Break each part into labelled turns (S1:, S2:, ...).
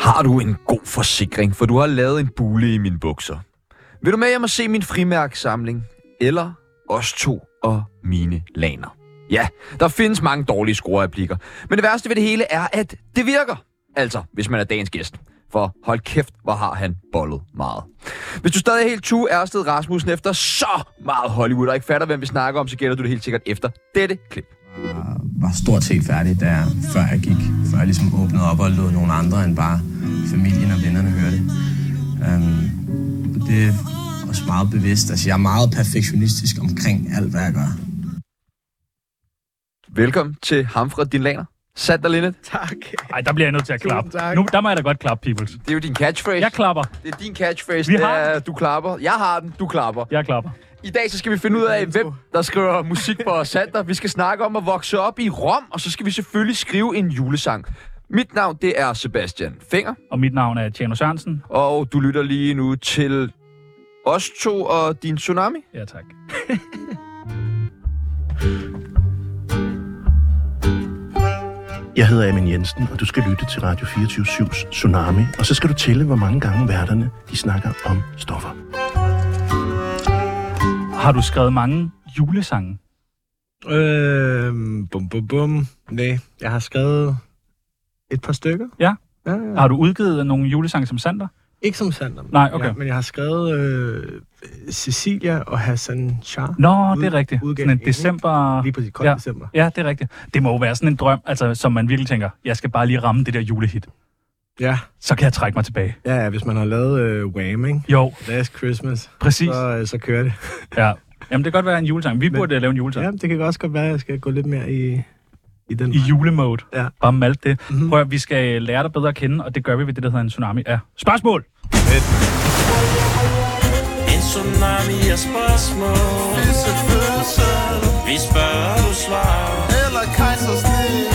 S1: har du en god forsikring, for du har lavet en bule i mine bukser. Vil du med hjem og se min frimærksamling? Eller os to og mine laner? Ja, der findes mange dårlige skruereplikker. Men det værste ved det hele er, at det virker. Altså, hvis man er dagens gæst. For hold kæft, hvor har han bollet meget. Hvis du stadig er helt tue Ersted Rasmussen efter så meget Hollywood, og ikke fatter, hvem vi snakker om, så gælder du det helt sikkert efter dette klip.
S2: var- var stort set færdig, da jeg, før jeg gik. Før jeg ligesom åbnede op og lod nogle andre end bare familien og vennerne høre det. Um, det er også meget bevidst. Altså, jeg er meget perfektionistisk omkring alt, hvad jeg gør.
S1: Velkommen til ham fra din laner. Sander Linnet,
S3: Tak.
S4: Ej, der bliver jeg nødt til at
S3: Tusind
S4: klappe.
S3: tak.
S4: Nu, der må jeg da godt klappe, peoples.
S1: det er jo din catchphrase.
S4: Jeg klapper.
S1: Det er din catchphrase,
S4: Vi
S1: det
S4: har
S1: er, du klapper. Jeg har den, du klapper.
S4: Jeg klapper.
S1: I dag så skal vi finde ud af, hvem der skriver musik for os Sander. Vi skal snakke om at vokse op i Rom, og så skal vi selvfølgelig skrive en julesang. Mit navn, det er Sebastian Finger,
S4: Og mit navn er Tjano Sørensen.
S1: og du lytter lige nu til os to og din tsunami.
S4: Ja, tak.
S5: Jeg hedder Amin Jensen, og du skal lytte til Radio 24-7's Tsunami. Og så skal du tælle, hvor mange gange værterne de snakker om stoffer.
S4: Har du skrevet mange julesange?
S3: Øhm, bum bum bum. Nej, jeg har skrevet et par stykker.
S4: Ja.
S3: ja, ja.
S4: Har du udgivet nogle julesange som Sander?
S3: Ikke som Sander. men-
S4: Nej, okay.
S3: Ja, men jeg har skrevet øh, Cecilia og Hassan Shah.
S4: Nå,
S3: Ud-
S4: det er rigtigt.
S3: udgav
S4: Sådan en
S3: en, ikke?
S4: december...
S3: Lige præcis, kold
S4: Ja.
S3: ja. december.
S4: Ja, det er rigtigt. Det må jo være sådan en drøm, altså, som man virkelig tænker, jeg skal bare lige ramme det der julehit.
S3: Ja.
S4: Så kan jeg trække mig tilbage.
S3: ja, ja, hvis man har lavet øh, Wham, ikke?
S4: Jo,
S3: Last Christmas,
S4: præcis.
S3: så, øh, så kører det.
S4: Ja. Jamen, det kan godt være en julesang. Vi burde øh, lave en julesang.
S3: Ja, det kan også godt være, at jeg skal gå lidt mere i, i den
S4: I julemode.
S3: Ja. Mhm.
S4: Bare malt det. Mm-hmm. Prøv at, vi skal lære dig bedre at kende, og det gør vi ved det, der hedder en tsunami. Ja. Spørgsmål!
S6: En tsunami af spørgsmål Vi spørger, du svarer
S7: Eller kejsersnit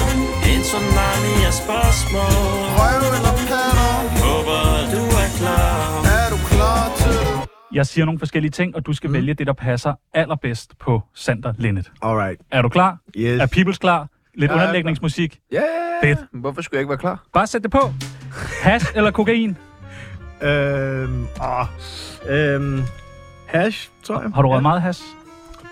S6: En tsunami af spørgsmål
S7: Røv eller patter
S6: Håber, du er klar
S7: Er du klar til det?
S4: Jeg siger nogle forskellige ting, og du skal mm. vælge det, der passer allerbedst på Sander Linnet.
S3: Alright,
S4: Er du klar?
S3: yes.
S4: Er Peoples klar? Lidt
S1: Ja,
S4: ja,
S1: jeg er
S4: underlægningsmusik.
S1: Ja, yeah.
S4: Fedt.
S1: Hvorfor skulle jeg ikke være klar?
S4: Bare sæt det på. Hash eller kokain?
S3: Øhm, åh, øhm, hash, tror jeg.
S4: Har du røget meget hash?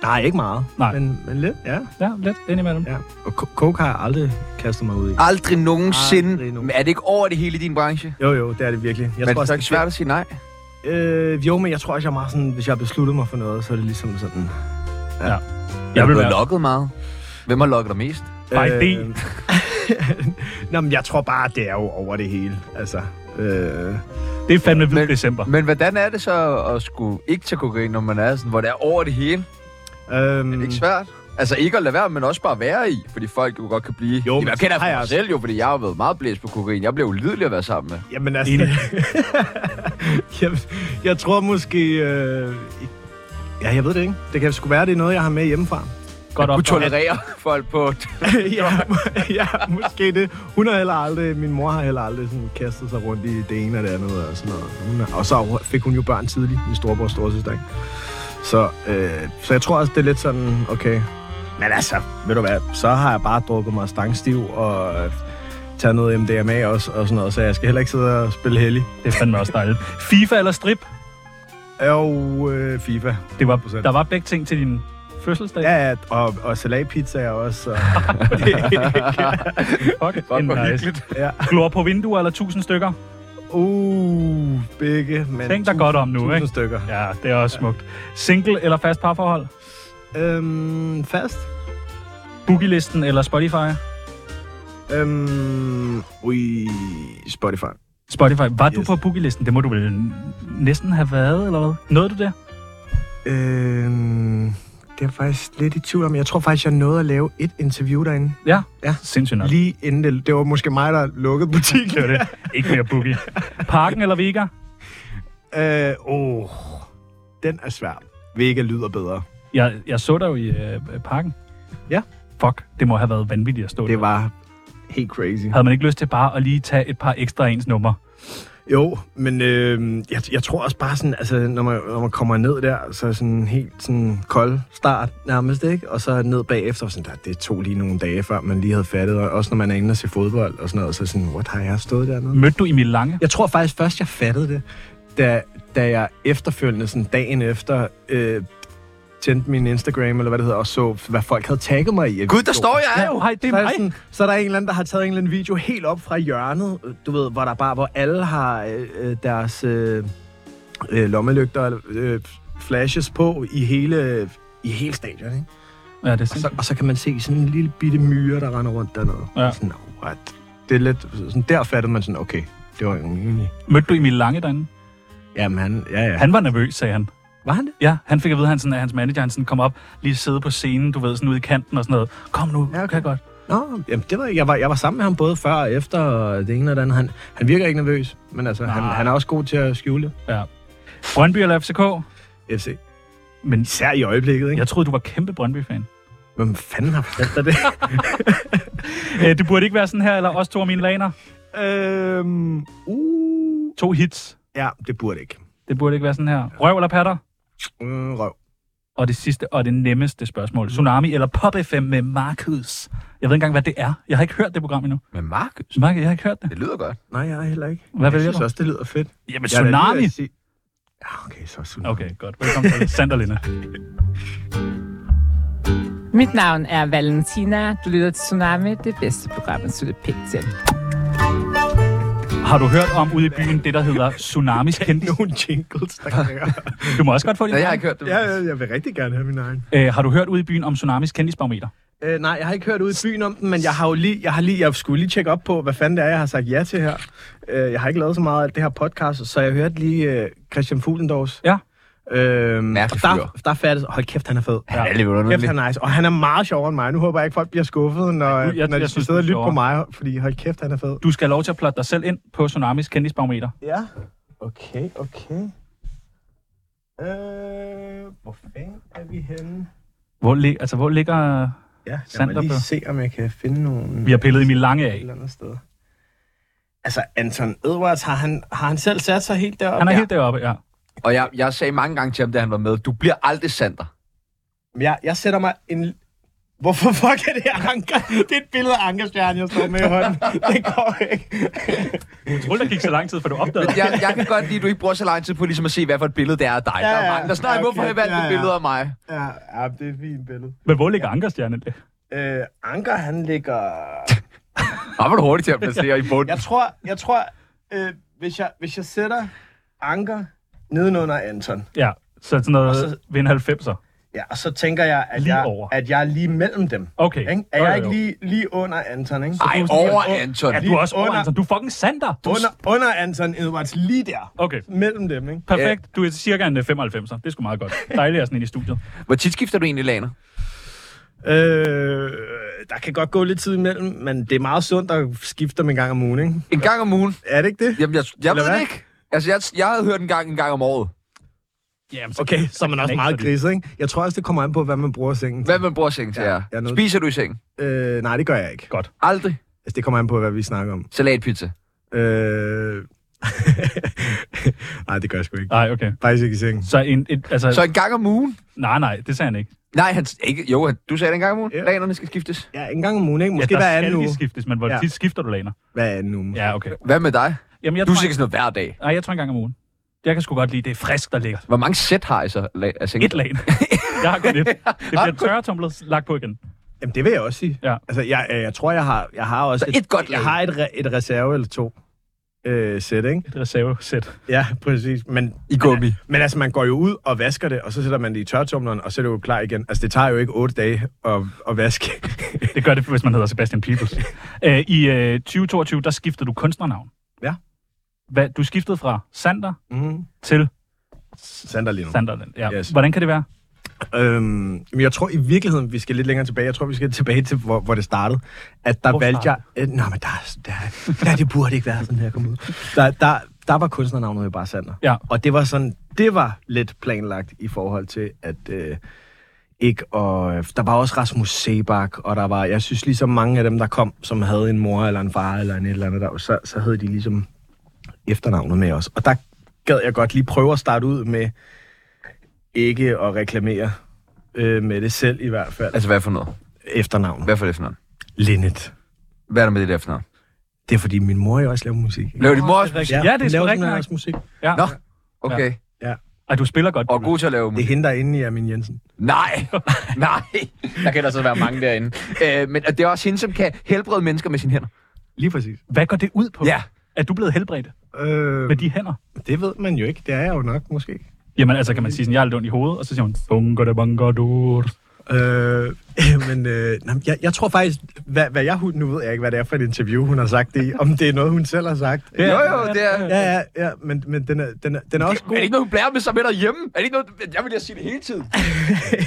S3: Nej, ikke meget.
S4: Nej.
S3: Men, men lidt, ja.
S4: Ja, lidt indimellem.
S3: ja. Og ko- coke har jeg aldrig kastet mig ud i.
S1: Aldrig nogensinde.
S3: Aldrig nogensinde.
S1: Men er det ikke over det hele i din branche?
S3: Jo, jo, det er det virkelig. Jeg
S1: Men det er
S3: også,
S1: så ikke svært at sige nej.
S3: Øh, jo, men jeg tror også, jeg er meget sådan, hvis jeg har besluttet mig for noget, så er det ligesom sådan...
S4: Jeg vil
S1: Du
S4: være...
S1: har lokket meget. Hvem har lokket dig mest?
S3: Øh,
S4: Bare idé.
S3: Nå, men jeg tror bare, det er jo over det hele, altså. Øh,
S4: Det er fandme hvid
S1: Men-
S4: december.
S1: Men hvordan er det så at skulle ikke tage kokain, når man er sådan, hvor det er over det hele?
S3: øhm,
S1: Mm. Ikke svært. Altså ikke at lade være, men også bare være i, fordi folk jo godt kan blive...
S3: Jo,
S1: Jo,
S3: men
S1: jeg
S3: så
S1: kender
S3: har
S1: fra
S3: jeg
S1: mig
S3: også-
S1: selv jo, fordi jeg har jo været meget blæst på kokain. Jeg blev ulidelig at være sammen med.
S3: Jamen altså...
S4: Enig.
S3: jeg, jeg tror måske... Øh, ja, jeg ved det ikke. Det kan sgu være, det er noget, jeg har med hjemmefra.
S4: Godt
S1: Du
S4: op.
S1: tolererer folk på...
S3: ja, må- ja, måske det. Hun har heller aldrig... Min mor har heller aldrig sådan kastet sig rundt i det ene og det andet og sådan noget. Hun er, og så fik hun jo børn tidligt, min storebror og storesøster, ikke? Så, øh, så jeg tror også, det er lidt sådan, okay... Men altså, ved du hvad, så har jeg bare drukket mig stangstiv og øh, taget noget MDMA også, og sådan noget, så jeg skal heller ikke sidde og spille heldig.
S4: Det er fandme også dejligt. FIFA eller strip?
S3: Og øh, FIFA.
S4: Det var,
S3: 100%.
S4: der var begge ting til din fødselsdag.
S3: Ja, ja, og, og salatpizza er også. Og,
S4: Fuck,
S1: Godt, hvor
S4: nice.
S1: hyggeligt.
S3: ja.
S4: Glor på vinduer eller tusind stykker?
S3: Uh, begge. Men
S4: Tænk dig godt om nu,
S3: tusind
S4: ikke?
S3: stykker.
S4: Ja, det er også smukt. Single eller fast parforhold?
S3: Øhm, fast.
S4: Boogielisten eller Spotify?
S3: Øhm, ui, Spotify.
S4: Spotify. Var yes. du
S3: Yes.
S4: på boogielisten? Det må du vel n- næsten have været, eller hvad? Nåede du det?
S3: Øhm, det er faktisk lidt i tvivl om. Jeg tror faktisk, jeg nåede at lave et interview derinde.
S4: Ja.
S3: Ja.
S4: Sindssygt nok.
S3: Lige inden det, det var måske mig, der lukkede butikken.
S4: Det var det. Ikke mere boogie. Parken eller Vega?
S3: Øh, oh, den er svær. Vega lyder bedre.
S4: Jeg, jeg så dig jo i øh, parken.
S3: Ja.
S4: Fuck, det må have været vanvittigt at stå der.
S3: Det var helt crazy.
S4: Havde man ikke lyst til bare at lige tage et par ekstra af ens nummer?
S3: Jo, men øh, jeg, jeg tror også bare sådan, altså, når man, når man kommer ned der, så er sådan en helt sådan kold start nærmest, ikke? Og så ned bagefter, og sådan, der, det tog lige nogle dage, før man lige havde fattet, og også når man er inde og se fodbold og sådan noget, så er sådan, what har jeg stået dernede?
S4: Mødte du Emil Lange?
S3: Jeg tror faktisk først, jeg fattede det, da, da jeg efterfølgende, sådan dagen efter, øh, tændte min Instagram, eller hvad det hedder, og så, hvad folk havde tagget mig i. at vi
S1: Gud, der
S3: stod.
S1: står jeg jo!
S4: Ja, oh, hej, det er
S3: så, er
S4: mig.
S3: der sådan, så er der en eller anden, der har taget en eller anden video helt op fra hjørnet, øh, du ved, hvor der bare, hvor alle har øh, øh, deres øh, øh, lommelygter eller øh, flashes på i hele, i hele stadion, ikke?
S4: Ja, det er
S3: Og så,
S4: sindssygt.
S3: og så kan man se sådan en lille bitte myre, der render rundt dernede.
S4: Ja.
S3: Sådan, no, what? Det er lidt, sådan, der fattede man sådan, okay, det var jo egentlig...
S4: Mødte du Emil Lange derinde?
S3: Jamen, han, ja, ja.
S4: Han var nervøs, sagde han.
S3: var han det?
S4: Ja, han fik at vide, at, han sådan, at hans manager han sådan kom op, lige sidde på scenen, du ved, sådan ude i kanten og sådan noget. Kom nu,
S3: Ja,
S4: ja,
S3: okay.
S4: okay. kan godt.
S3: Nå, jamen, det var, jeg, var, jeg var sammen med ham både før og efter, og det ene og det andet. Han, han virker ikke nervøs, men altså, han,
S4: Nej.
S3: han er også god til at skjule
S4: Brøndby eller FCK?
S3: det. FC.
S4: Men
S3: Især i øjeblikket, ikke?
S4: jeg troede, du var kæmpe Brøndby-fan.
S3: Hvem fanden har fortalt dig det?
S4: Æ, Øh, det burde ikke være sådan her, eller også to af mine laner.
S3: øhm, uh.
S4: To hits.
S3: Ja, det burde ikke.
S4: Det burde ikke være sådan her. Røv eller patter?
S3: Mm, røv.
S4: Og det sidste og det nemmeste spørgsmål. Tsunami eller Pop FM med Markus? Jeg ved ikke engang, hvad det er. Jeg har ikke hørt det program endnu.
S1: Men Markus,
S4: Markus, jeg har ikke hørt det.
S1: det lyder godt.
S3: Nej, jeg er heller ikke.
S4: Hvad
S3: jeg
S4: vælger
S3: synes
S4: du?
S3: også, det lyder fedt.
S4: Jamen,
S3: Jeg er da lige ved at
S4: Tsunami!
S3: sige- Ja, okay, så er Tsunami.
S4: Okay, godt. Velkommen til Sanderlinde.
S8: Mit navn er Valentina. Du lytter til Tsunami, det bedste program, man slutter pænt til.
S4: Har du hørt om ude i byen det, der hedder Tsunamis kendis?
S3: Nogle jingles, der kan jeg.
S4: Du må også godt få
S1: Ja,
S4: det.
S1: jeg har ikke hørt det.
S3: ja, ja, jeg vil rigtig gerne have min egen.
S4: Æ, har du hørt ude i byen om Tsunamis kendisbarometer?
S3: Øh, nej, jeg har ikke hørt ud i byen om den, men jeg har jo lige, jeg har lige, jeg skulle lige tjekke op på, hvad fanden det er, jeg har sagt ja til her. Øh, jeg har ikke lavet så meget af det her podcast, så jeg hørte lige øh, Christian Fuglendorfs.
S4: Ja.
S3: Øhm,
S1: Mærkelig
S3: og
S1: fyr.
S3: der, der fattes, hold kæft, han er fed.
S1: Han er lidt
S3: Kæft,
S1: underlig.
S3: han er nice. Og han er meget sjovere end mig. Nu håber jeg ikke, folk bliver skuffet, når, jeg,
S4: jeg-
S3: når
S4: jeg
S3: de
S4: synes,
S3: synes, sidder og
S4: du er
S3: lytter på
S4: sjovere.
S3: mig. Fordi hold kæft, han er fed.
S4: Du skal have lov til at plotte dig selv ind på Tsunamis kendisbarometer.
S3: Ja. Okay, okay. Øh, hvor fanden er vi henne?
S4: Hvor, lig, altså, hvor ligger...
S3: Ja, jeg må
S4: Sandra
S3: lige
S4: på.
S3: se, om jeg kan finde nogle...
S4: Vi har pillet Emil Lange af.
S3: et eller andet sted. Altså, Anton Edwards, har han, har han selv sat sig helt deroppe?
S4: Han er helt deroppe, ja.
S1: Og jeg, jeg sagde mange gange til ham, da han var med, du bliver aldrig Sander.
S3: Ja. Jeg, jeg sætter mig en... Hvorfor fuck er det her anker? Det er et billede af ankerstjernen, jeg står med i hånden. Det går ikke.
S4: Tror der gik så lang tid, for du opdagede det.
S1: Jeg, jeg kan godt lide, at du ikke bruger så lang tid på ligesom at se, hvad for et billede det er af dig. Ja, der er
S3: ja.
S1: mange, der snakker,
S3: Ja,
S1: hvorfor har
S3: okay.
S1: jeg valgt
S3: Ja,
S1: et
S3: ja.
S1: billede af mig?
S3: Ja, ja det er et fint billede.
S4: Men hvor ligger Ankerstjernen?
S3: Øh, Anker, han ligger...
S1: Hvor var du hurtigt til at placere i bunden?
S3: Jeg tror, jeg tror øh, hvis, jeg, hvis jeg sætter Anker nedenunder Anton,
S4: Ja, så sådan
S3: Og
S4: noget
S3: så-
S4: så... ved en 90'er.
S3: ja, og så tænker jeg, at,
S4: Lige
S3: jeg,
S4: over.
S3: at jeg er lige mellem dem.
S4: Okay.
S3: Ikke? Er
S4: Jo, jo,
S3: jeg ikke
S4: jo.
S3: lige, lige under Anton, ikke?
S1: Ej, over Anton.
S4: Ja, du er også over,
S3: Under-
S4: Anton. Du er fucking Sander. Du...
S3: Under, under Anton Edwards, lige der.
S4: Okay,
S3: Mellem dem, ikke?
S4: perfekt. Du er cirka en øh, 95'er. Det er sgu meget godt. Dejligt at sådan ind i studiet.
S1: Hvor tit skifter du egentlig laner?
S3: Øh, der kan godt gå lidt tid imellem, men det er meget sundt at skifte dem en gang om ugen, ikke?
S1: En gang om ugen.
S3: Er det ikke det?
S1: Jamen, jeg, jeg
S3: Eller
S1: ved det
S3: hvad?
S1: ikke. Altså, jeg, jeg havde hørt en gang en gang om året.
S4: Jamen, så
S3: Okay, så er man også meget griset, ikke? Jeg tror også, det kommer an på, hvad man bruger sengen til.
S1: Hvad man bruger sengen til
S3: Ja,
S1: ja,
S3: jeg er nødt-
S1: Spiser du i sengen?
S3: Øh, nej, det gør jeg ikke.
S1: Aldrig.
S3: Altså, det kommer an på, hvad vi snakker om.
S1: Salatpizza.
S3: Øh... nej, det gør jeg sgu ikke.
S4: Nej, okay.
S3: Faktisk ikke i sengen.
S4: Så en, et, altså,
S1: Så en gang om ugen?
S4: nej, nej, det sagde han ikke.
S1: Nej, han, ikke, jo, han, du sagde det en gang om ugen.
S3: Ja.
S1: Lanerne skal skiftes.
S3: Ja, en gang om ugen, ikke? Måske
S4: ja,
S3: hver
S4: der
S3: anden
S4: skal
S3: uge.
S4: de skiftes, men hvor
S3: Ja.
S4: ja. tit skifter du laner?
S3: Hver anden uge.
S4: Ja, okay.
S1: Hvad med dig?
S4: Jamen, jeg
S1: Du er
S4: tror,
S1: sikkert sådan noget hver dag.
S4: Nej, jeg tror en gang om ugen. Jeg kan sgu godt lide, det er frisk, der ligger.
S1: Hvor mange sæt har I så la- af sengen?
S4: Et lag. jeg har kun et. Det bliver tørretumblet lagt på igen.
S3: Jamen, det vil jeg også sige.
S4: Ja.
S3: Altså, jeg, øh, jeg tror, jeg har, jeg har også...
S1: Så et godt
S3: Jeg
S1: lag.
S3: har et, re- et reserve eller to øh, sæt, ikke?
S4: Et reservesæt.
S3: Ja, præcis. Men,
S1: I gummi.
S3: men altså, man går jo ud og vasker det, og så sætter man det i tørretumleren, og så er det jo klar igen. Altså, det tager jo ikke otte dage at, at vaske.
S4: Det gør det, hvis man hedder Sebastian Peebles. Æ, I øh, 2022, der skiftede du kunstnernavn.
S3: Ja.
S4: Hvad, du skiftede fra Sander
S3: mm.
S4: til
S3: Sander lige nu.
S4: Sanderland. Ja.
S3: Yes.
S4: Yes. Hvordan kan det være?
S3: Øhm, men jeg tror i virkeligheden, vi skal lidt længere tilbage. Jeg tror, vi skal tilbage til, hvor, hvor det startede. At der
S4: Hvor
S3: hvor valgte jeg...
S4: startede
S3: Øh, nå, men der, der, der, det burde ikke være sådan her, kom ud. Der, der, der var kunstnernavnet jo bare Sander.
S4: Ja.
S3: Og det var sådan, det var lidt planlagt i forhold til, at øh, ikke, og øh, der var også Rasmus Sebak, og der var, jeg synes ligesom mange af dem, der kom, som havde en mor eller en far eller en et eller andet, der, så, så havde de ligesom efternavnet med os. Og der gad jeg godt lige prøve at starte ud med ikke at reklamere øh, med det selv i hvert fald.
S1: Altså, hvad for noget?
S3: Efternavnet.
S1: Hvad for det for noget?
S3: Linnet.
S1: Hvad er der med det der for noget?
S3: Det er fordi min mor jo også laver musik. ikke?
S1: Laver de mors?
S4: Ja, det er sgu
S3: laver
S4: rigtigt.
S3: hun
S4: nok.
S3: også musik.
S4: Ja.
S1: Nå, okay.
S4: Ej, du spiller godt.
S1: Og
S4: Bubbe.
S1: god til at lave
S3: Det er
S1: musik.
S3: hende derinde i Amin Jensen.
S1: Nej, nej. Der kan der så være mange derinde. Øh, men og det er også hende, som kan helbrede mennesker med sine hænder.
S3: Lige præcis.
S4: Hvad går det ud på?
S1: Ja.
S4: Er du blevet helbredt
S3: Øh,
S4: med de hænder?
S3: det ved man jo ikke. Det er jeg jo nok, måske.
S4: Jamen, altså kan man sige sådan, jeg er lidt ondt i hovedet, og så siger hun, bunker det bunker du.
S3: Øh, men øh, nej, men jeg, jeg tror faktisk, hvad, hvad jeg, hun- nu ved jeg ikke, hvad det er for et interview, hun har sagt det i. Om det er noget, hun selv har sagt.
S1: Jo, jo, det er...
S3: Ja, ja, ja, men, men den er, den er, den er også
S1: Er
S3: god.
S1: det ikke noget, hun blærer med sig med derhjemme? Er det ikke noget, jeg ville da sige det hele tiden?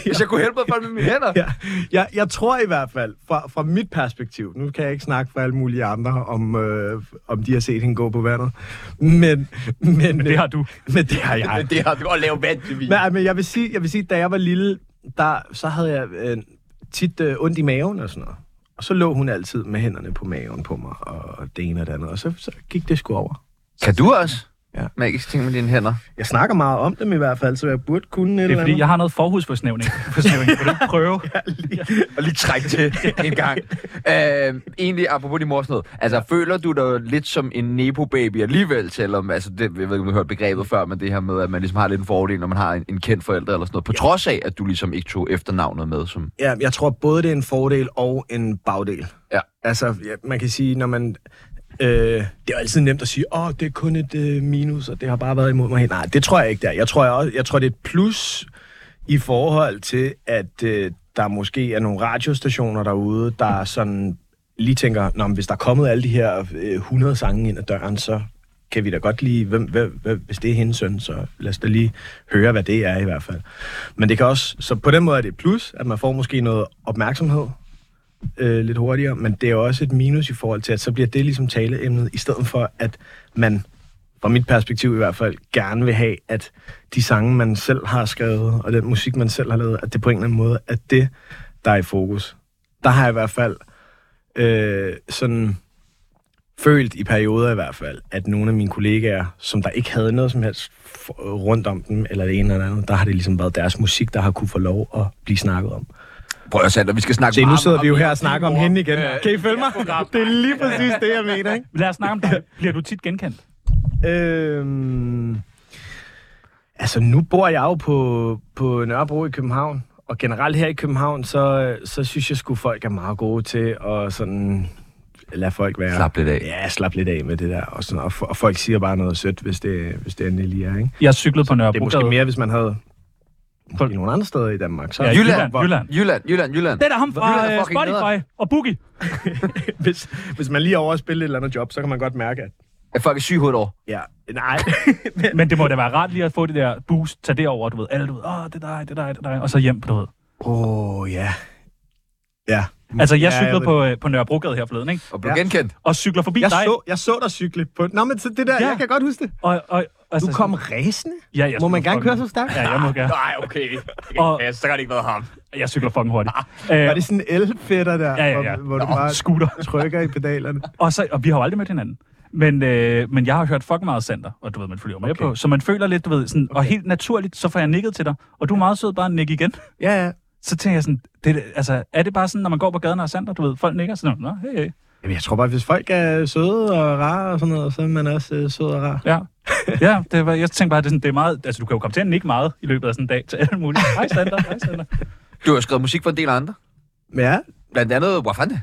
S1: Hvis jeg kunne helbrede folk med mine hænder.
S3: Ja, jeg, jeg tror i hvert fald, fra, fra mit perspektiv, nu kan jeg ikke snakke for alle mulige andre, om, øh, om de har set hende gå på vandet, men... Men, men øh,
S4: Det har du.
S3: Men det har jeg.
S1: Det har du at lave vand til vin.
S3: Men, ej, men jeg, vil sige, jeg vil sige, da jeg var lille, der, så havde jeg øh, tit øh, ondt i maven og sådan noget. Og så lå hun altid med hænderne på maven på mig, og det ene og det andet, og så, så gik det sgu over.
S1: Kan du også?
S3: Ja.
S1: Magisk ting med dine hænder.
S3: Jeg snakker meget om dem i hvert fald, så jeg burde kunne et
S4: Det er
S3: eller
S4: fordi,
S3: andet.
S4: jeg har noget forhudsforsnævning. Forsnævning. Vil du ikke prøve?
S1: Og lige trække til en gang. Øh, egentlig, apropos din mor sådan noget. Altså, føler du dig lidt som en Nepo-baby alligevel, selvom, altså, det, jeg ved ikke, om du har hørt begrebet før, men det her med, at man ligesom har lidt en fordel, når man har en, en kendt forælder eller sådan noget, på trods af, at du ligesom ikke tog efternavnet med som...
S3: Ja, jeg tror både, det er en fordel og en bagdel.
S1: Ja.
S3: Altså, ja, man kan sige, når man... Øh, det er jo altid nemt at sige, åh, det er kun et øh, minus, og det har bare været imod mig. helt." Nej, det tror jeg ikke, der. Jeg tror, jeg, også, jeg tror, det er et plus i forhold til, at øh, der måske er nogle radiostationer derude, der sådan lige tænker, Nå, men hvis der er kommet alle de her øh, 100 sange ind ad døren, så kan vi da godt lige, hvem, hvem, hvem, hvis det er hendes søn, så lad os da lige høre, hvad det er i hvert fald. Men det kan også, så på den måde er det et plus, at man får måske noget opmærksomhed øh, lidt hurtigere, men det er også et minus i forhold til, at så bliver det ligesom taleemnet, i stedet for, at man, fra mit perspektiv i hvert fald, gerne vil have, at de sange, man selv har skrevet, og den musik, man selv har lavet, at det på en eller anden måde er det, der er i fokus. Der har jeg i hvert fald øh, sådan følt i perioder i hvert fald, at nogle af mine kollegaer, som der ikke havde noget som helst for- rundt om dem, eller det ene eller andet, der har det ligesom været deres musik, der har kunne få lov at blive snakket om.
S1: Prøv at Sander, Ah, vi skal snakke
S3: Se, nu
S1: meget
S3: sidder
S1: om-
S3: vi jo her og snakker om hende igen. Kan I følge mig? Det er lige præcis det, jeg mener, ikke?
S4: Lad os snakke om dig. Bliver du tit genkendt?
S3: Øhm, altså, nu bor jeg jo på, på Nørrebro i København. Og generelt her i København, så, så synes jeg sgu, folk er meget gode til at sådan lade folk være.
S1: Slap lidt af.
S3: Ja, slap lidt af med det der. Og, sådan, og, fo- og folk siger bare noget sødt, hvis det, hvis det endelig lige er, ikke?
S4: Jeg cyklede på
S3: Det er
S4: Nørrebro.
S3: måske mere, hvis man havde i nogle andre steder i Danmark. Så
S4: Ja, Jylland, Jylland.
S1: Jylland, Jylland, Jylland.
S4: Det er der ham
S1: Hvor
S4: fra
S1: lyder
S4: øh,
S1: fucking
S4: Spotify og Boogie.
S3: hvis, hvis man lige er over at spille et eller andet job, så kan man godt mærke, at
S1: Er folk i syg over?
S3: ja, nej,
S4: Men det må da være rart lige at få det der boost, tage det over, du ved, alle du ved, åh, det er dig, det er dig, det er dig, og så hjem, du ved.
S3: Åh, oh, ja. Ja.
S4: Altså, jeg
S3: Ja,
S4: cyklede
S3: ved
S4: på, øh, på Nørrebrogade her forleden, ikke?
S1: Og blev
S3: Ja.
S1: genkendt?
S4: Og cykler forbi
S3: Jeg
S4: dig.
S3: så, jeg så dig cykle på... Nå, men så det der,
S4: Ja.
S3: ja. jeg kan godt huske det.
S4: Og, og, altså,
S3: Du kom ræsende.
S4: Ja, jeg
S3: Må man
S4: cykler
S3: gerne køre
S4: fucking-
S3: så stærkt?
S4: Ja, jeg må gerne.
S1: Nej, okay.
S4: Og
S1: Ja, så kan det ikke være ham.
S4: jeg cykler fucking hurtigt. Æ,
S3: Var det sådan en elfætter der,
S4: Ja, ja, ja.
S3: Hvor, hvor du
S4: Nå,
S3: bare
S4: scooter.
S3: trykker i pedalerne?
S4: og, så, og vi har jo aldrig mødt hinanden. Men, øh, men jeg har hørt fucking meget Sander, og du ved, man følger med okay. på. Så man føler lidt, du ved, sådan, okay. og helt naturligt, så får jeg nikket til dig, og du er meget sød, bare nik igen.
S3: Ja, ja.
S4: Så tænker jeg sådan, det, er- altså, er det bare sådan, når man går på gaden og er Sander, du ved, folk nikker, sådan, nå, hey, hey.
S3: Jamen, jeg tror bare, hvis folk er søde og rare og sådan noget, så er man også øh, sød og rar.
S4: Ja. ja, det var, jeg tænkte bare, det er, sådan, det er meget, altså du kan jo komme til at nikke meget i løbet af sådan en dag til alle mulige. Hej Sander, hej Sander.
S1: Du har skrevet musik for en del andre.
S3: Men ja,
S1: Blandt andet, hvor fanden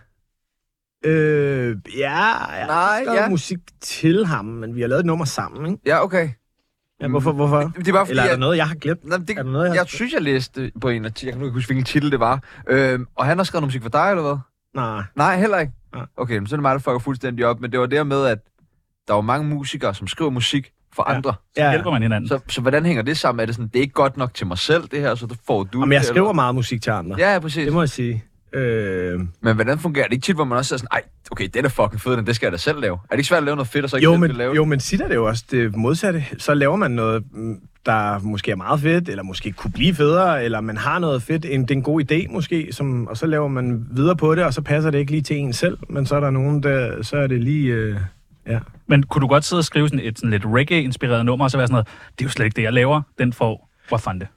S3: øh, ja, jeg
S1: Nej,
S3: har skrevet
S1: ja. musik.
S3: musik til ham, men vi har lavet et nummer sammen, ikke?
S1: Ja, okay.
S3: Ja, hvorfor, hvorfor?
S1: Mm. Det er bare fordi,
S3: Eller er der
S1: jeg-
S3: noget, jeg har glemt?
S1: Nå, men det,
S3: Er der noget, jeg
S1: jeg,
S3: har
S1: jeg
S3: skrevet?
S1: synes, jeg læste på en artikel. Jeg kan nu ikke huske, hvilken titel det var. Øhm, og han har skrevet noget musik for dig, eller hvad?
S3: Nej.
S1: Nej, heller ikke.
S3: Nej.
S1: Okay, men så er det mig, der fucker fuldstændig op. Men det var der med, at der var mange musikere, som skriver musik for
S3: Ja.
S1: andre.
S4: Ja. Hjælper man hinanden.
S1: Så, så hvordan hænger det sammen? Er det sådan, det er ikke godt nok til mig selv, det her, så det får du
S3: Jamen, jeg
S1: det,
S3: skriver meget musik til andre.
S1: eller- Ja, ja, præcis.
S3: Det må jeg sige. Øh,
S1: Men hvordan fungerer det ikke tit, hvor man også er sådan, ej, okay, den er fucking fed, den, det skal jeg da selv lave. Er det ikke svært at lave noget fedt, og så ikke
S3: jo,
S1: selv
S3: men,
S1: det lave?
S3: jo, men sit er det jo også det modsatte. Så laver man noget, mm, der måske er meget fedt, eller måske kunne blive federe, eller man har noget fedt, en, det er en god idé måske, som, og så laver man videre på det, og så passer det ikke lige til en selv, men så er der nogen, der, så er det lige... Øh, Ja.
S4: Men kunne du godt sidde og skrive sådan et sådan lidt reggae-inspireret nummer, og så være sådan noget, det er jo slet ikke det, jeg laver, den får, hvor fanden det?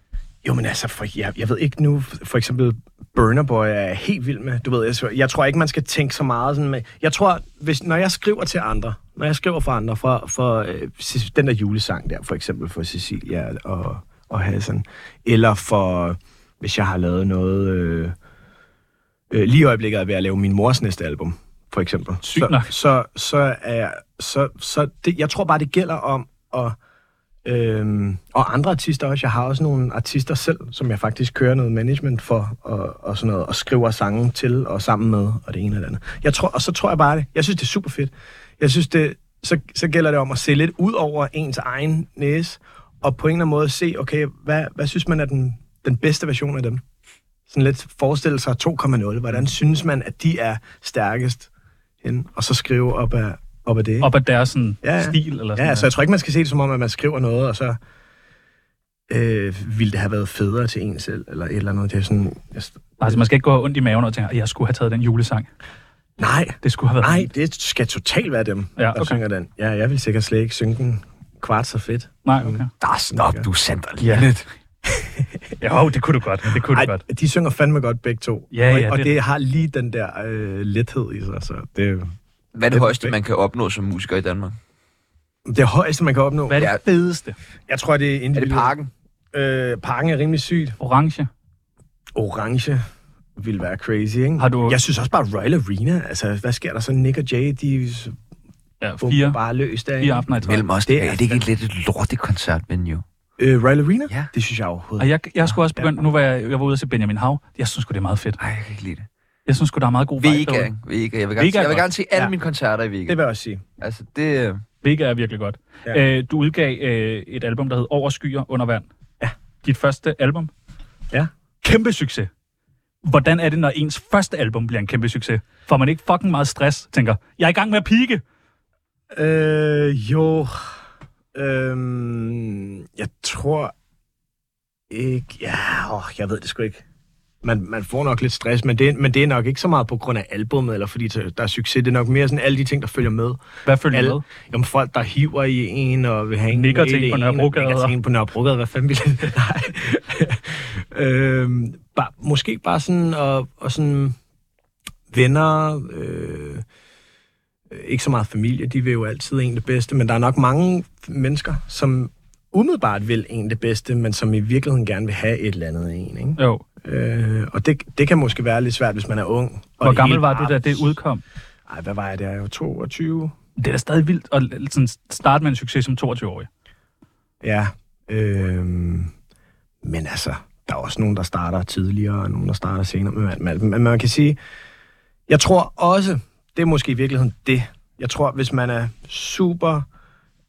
S3: Jo, men altså, for, jeg, jeg ved ikke nu, for eksempel Burner Boy er jeg helt vild med, du ved, jeg, jeg tror ikke, man skal tænke så meget sådan med, jeg tror, hvis, når jeg skriver til andre, når jeg skriver for andre, for, for øh, Cec- den der julesang der, for eksempel for Cecilia og, og Hassan, eller for, hvis jeg har lavet noget, øh, øh, lige i øjeblikket er jeg ved at lave min mors næste album, for eksempel.
S4: Sygt
S3: så,
S4: nok.
S3: så, så er jeg, så, så det, jeg tror bare, det gælder om at, Øhm, og andre artister også. Jeg har også nogle artister selv, som jeg faktisk kører noget management for, og, og sådan noget, og skriver sange til, og sammen med, og det ene og det andet. Jeg tror, og så tror jeg bare det. Jeg synes, det er super fedt. Jeg synes, det, så, så gælder det om at se lidt ud over ens egen næse, og på en eller anden måde se, okay, hvad, hvad synes man er den, den bedste version af dem? Sådan lidt forestille sig 2,0. Hvordan synes man, at de er stærkest? Henne? Og så skrive op af, op af det. ikke?
S4: Op ad deres sådan,
S3: Ja,
S4: ja,
S3: ja.
S4: ja. stil? Eller sådan
S3: Ja, altså
S4: noget.
S3: jeg tror ikke, man skal se det som om, at man skriver noget, og så øh, ville det have været federe til en selv, eller et eller andet. Det er sådan... Jeg,
S4: altså, man skal ikke gå ondt i maven og tænke, "Ej, jeg skulle have taget den julesang.
S3: nej,
S4: Det skulle have været
S3: nej, det skal totalt være dem,
S4: Ja,
S3: ja, okay. der
S4: okay.
S3: synger den. Ja, jeg vil sikkert slet ikke synge den kvart så fedt.
S4: Nej, okay.
S1: Der snop, Ah, du sender lige lidt.
S4: Jo, det kunne du godt. Det kunne du
S3: Ej,
S4: godt.
S3: de synger fandme godt begge to.
S4: Ja,
S3: og,
S4: ja,
S3: og
S4: det-
S3: det, har lige den der øh, lethed i sig, så det,
S1: Hvad er det
S3: Det er
S1: højeste,
S3: perfekt.
S1: man kan opnå som musiker i Danmark?
S3: det er højeste, man kan opnå.
S4: Hvad er det fedeste?
S3: Jeg tror, det er
S1: Er det
S3: individuelt.
S1: parken?
S3: Øh, parken er rimelig sygt.
S4: Orange.
S3: Orange vil være crazy, ikke?
S4: Har du-
S3: Jeg synes også bare Royal Arena. Altså, hvad sker der så? Nick og Jay, de
S4: Ja,
S3: Fire.
S4: fire,
S3: bare løs der.
S4: fire aftener i træk.
S1: Mellem os,
S3: Det
S1: det
S3: er-
S1: er, er det ikke et lidt et lortet koncertvenue?
S3: Øh, Royal Arena?
S1: Ja.
S3: Det synes jeg overhovedet.
S4: Og jeg, jeg skulle også
S3: Ja.
S4: begynde, nu var jeg, jeg var ude og se Benjamin Hav. Jeg synes sgu, det er meget fedt.
S1: Nej, jeg kan ikke lide det.
S4: Jeg synes sgu, der er meget god vibe
S1: Vega,
S4: derude.
S1: Vega. Jeg vil
S4: Vega
S1: gerne, se,
S4: er
S1: jeg vil
S4: godt.
S1: gerne se alle
S3: Ja.
S1: mine koncerter i
S3: Det
S1: Vega.
S3: vil jeg også sige.
S1: Altså, det... øh,
S4: Vega er virkelig godt.
S3: Ja.
S4: Ja. Øh, du udgav øh, et album, der hed Over skyer under vand.
S3: Ja.
S4: Dit første album.
S3: Ja.
S4: Kæmpe succes. Hvordan er det, når ens første album bliver en kæmpe succes? Får man ikke fucking meget stress? Tænker, jeg er i gang med at pike.
S3: Øh, jo. Øhm, jeg tror ikke... Ja, åh, jeg ved det sgu ikke. Man, man får nok lidt stress, men det, er- men det er nok ikke så meget på grund af albummet, eller fordi der der er succes. Det er nok mere sådan alle de ting, der følger med.
S4: Hvad følger
S3: Alle,
S4: med?
S3: jamen folk, der hiver i en, og vil have en
S4: Nikker
S3: med
S4: til en på
S3: i og
S4: Nørrebrogade.
S3: Nikker til en på Nørrebrogade, hvad fanden vil det? Nej. øhm, bare, måske bare sådan, og, og sådan venner, øh, ikke så meget familie, de vil jo altid en det bedste, men der er nok mange mennesker, som umiddelbart vil en det bedste, men som i virkeligheden gerne vil have et eller andet af en, ikke?
S4: Jo.
S3: Øh, og det, det kan måske være lidt svært, hvis man er ung. og
S4: Hvor
S3: det
S4: gammel
S3: hele
S4: var
S3: bare-
S4: du, da det udkom?
S3: Ej, hvad var jeg der? Jeg var 22.
S4: Det er da stadig vildt at l- sådan, starte med en succes som 22-årig.
S3: Ja. Øhm, men altså, der er også nogen, der starter tidligere, og nogen, der starter senere. Men man, man, man, man kan sige, jeg tror også, det er måske i virkeligheden det. Jeg tror, hvis man er super...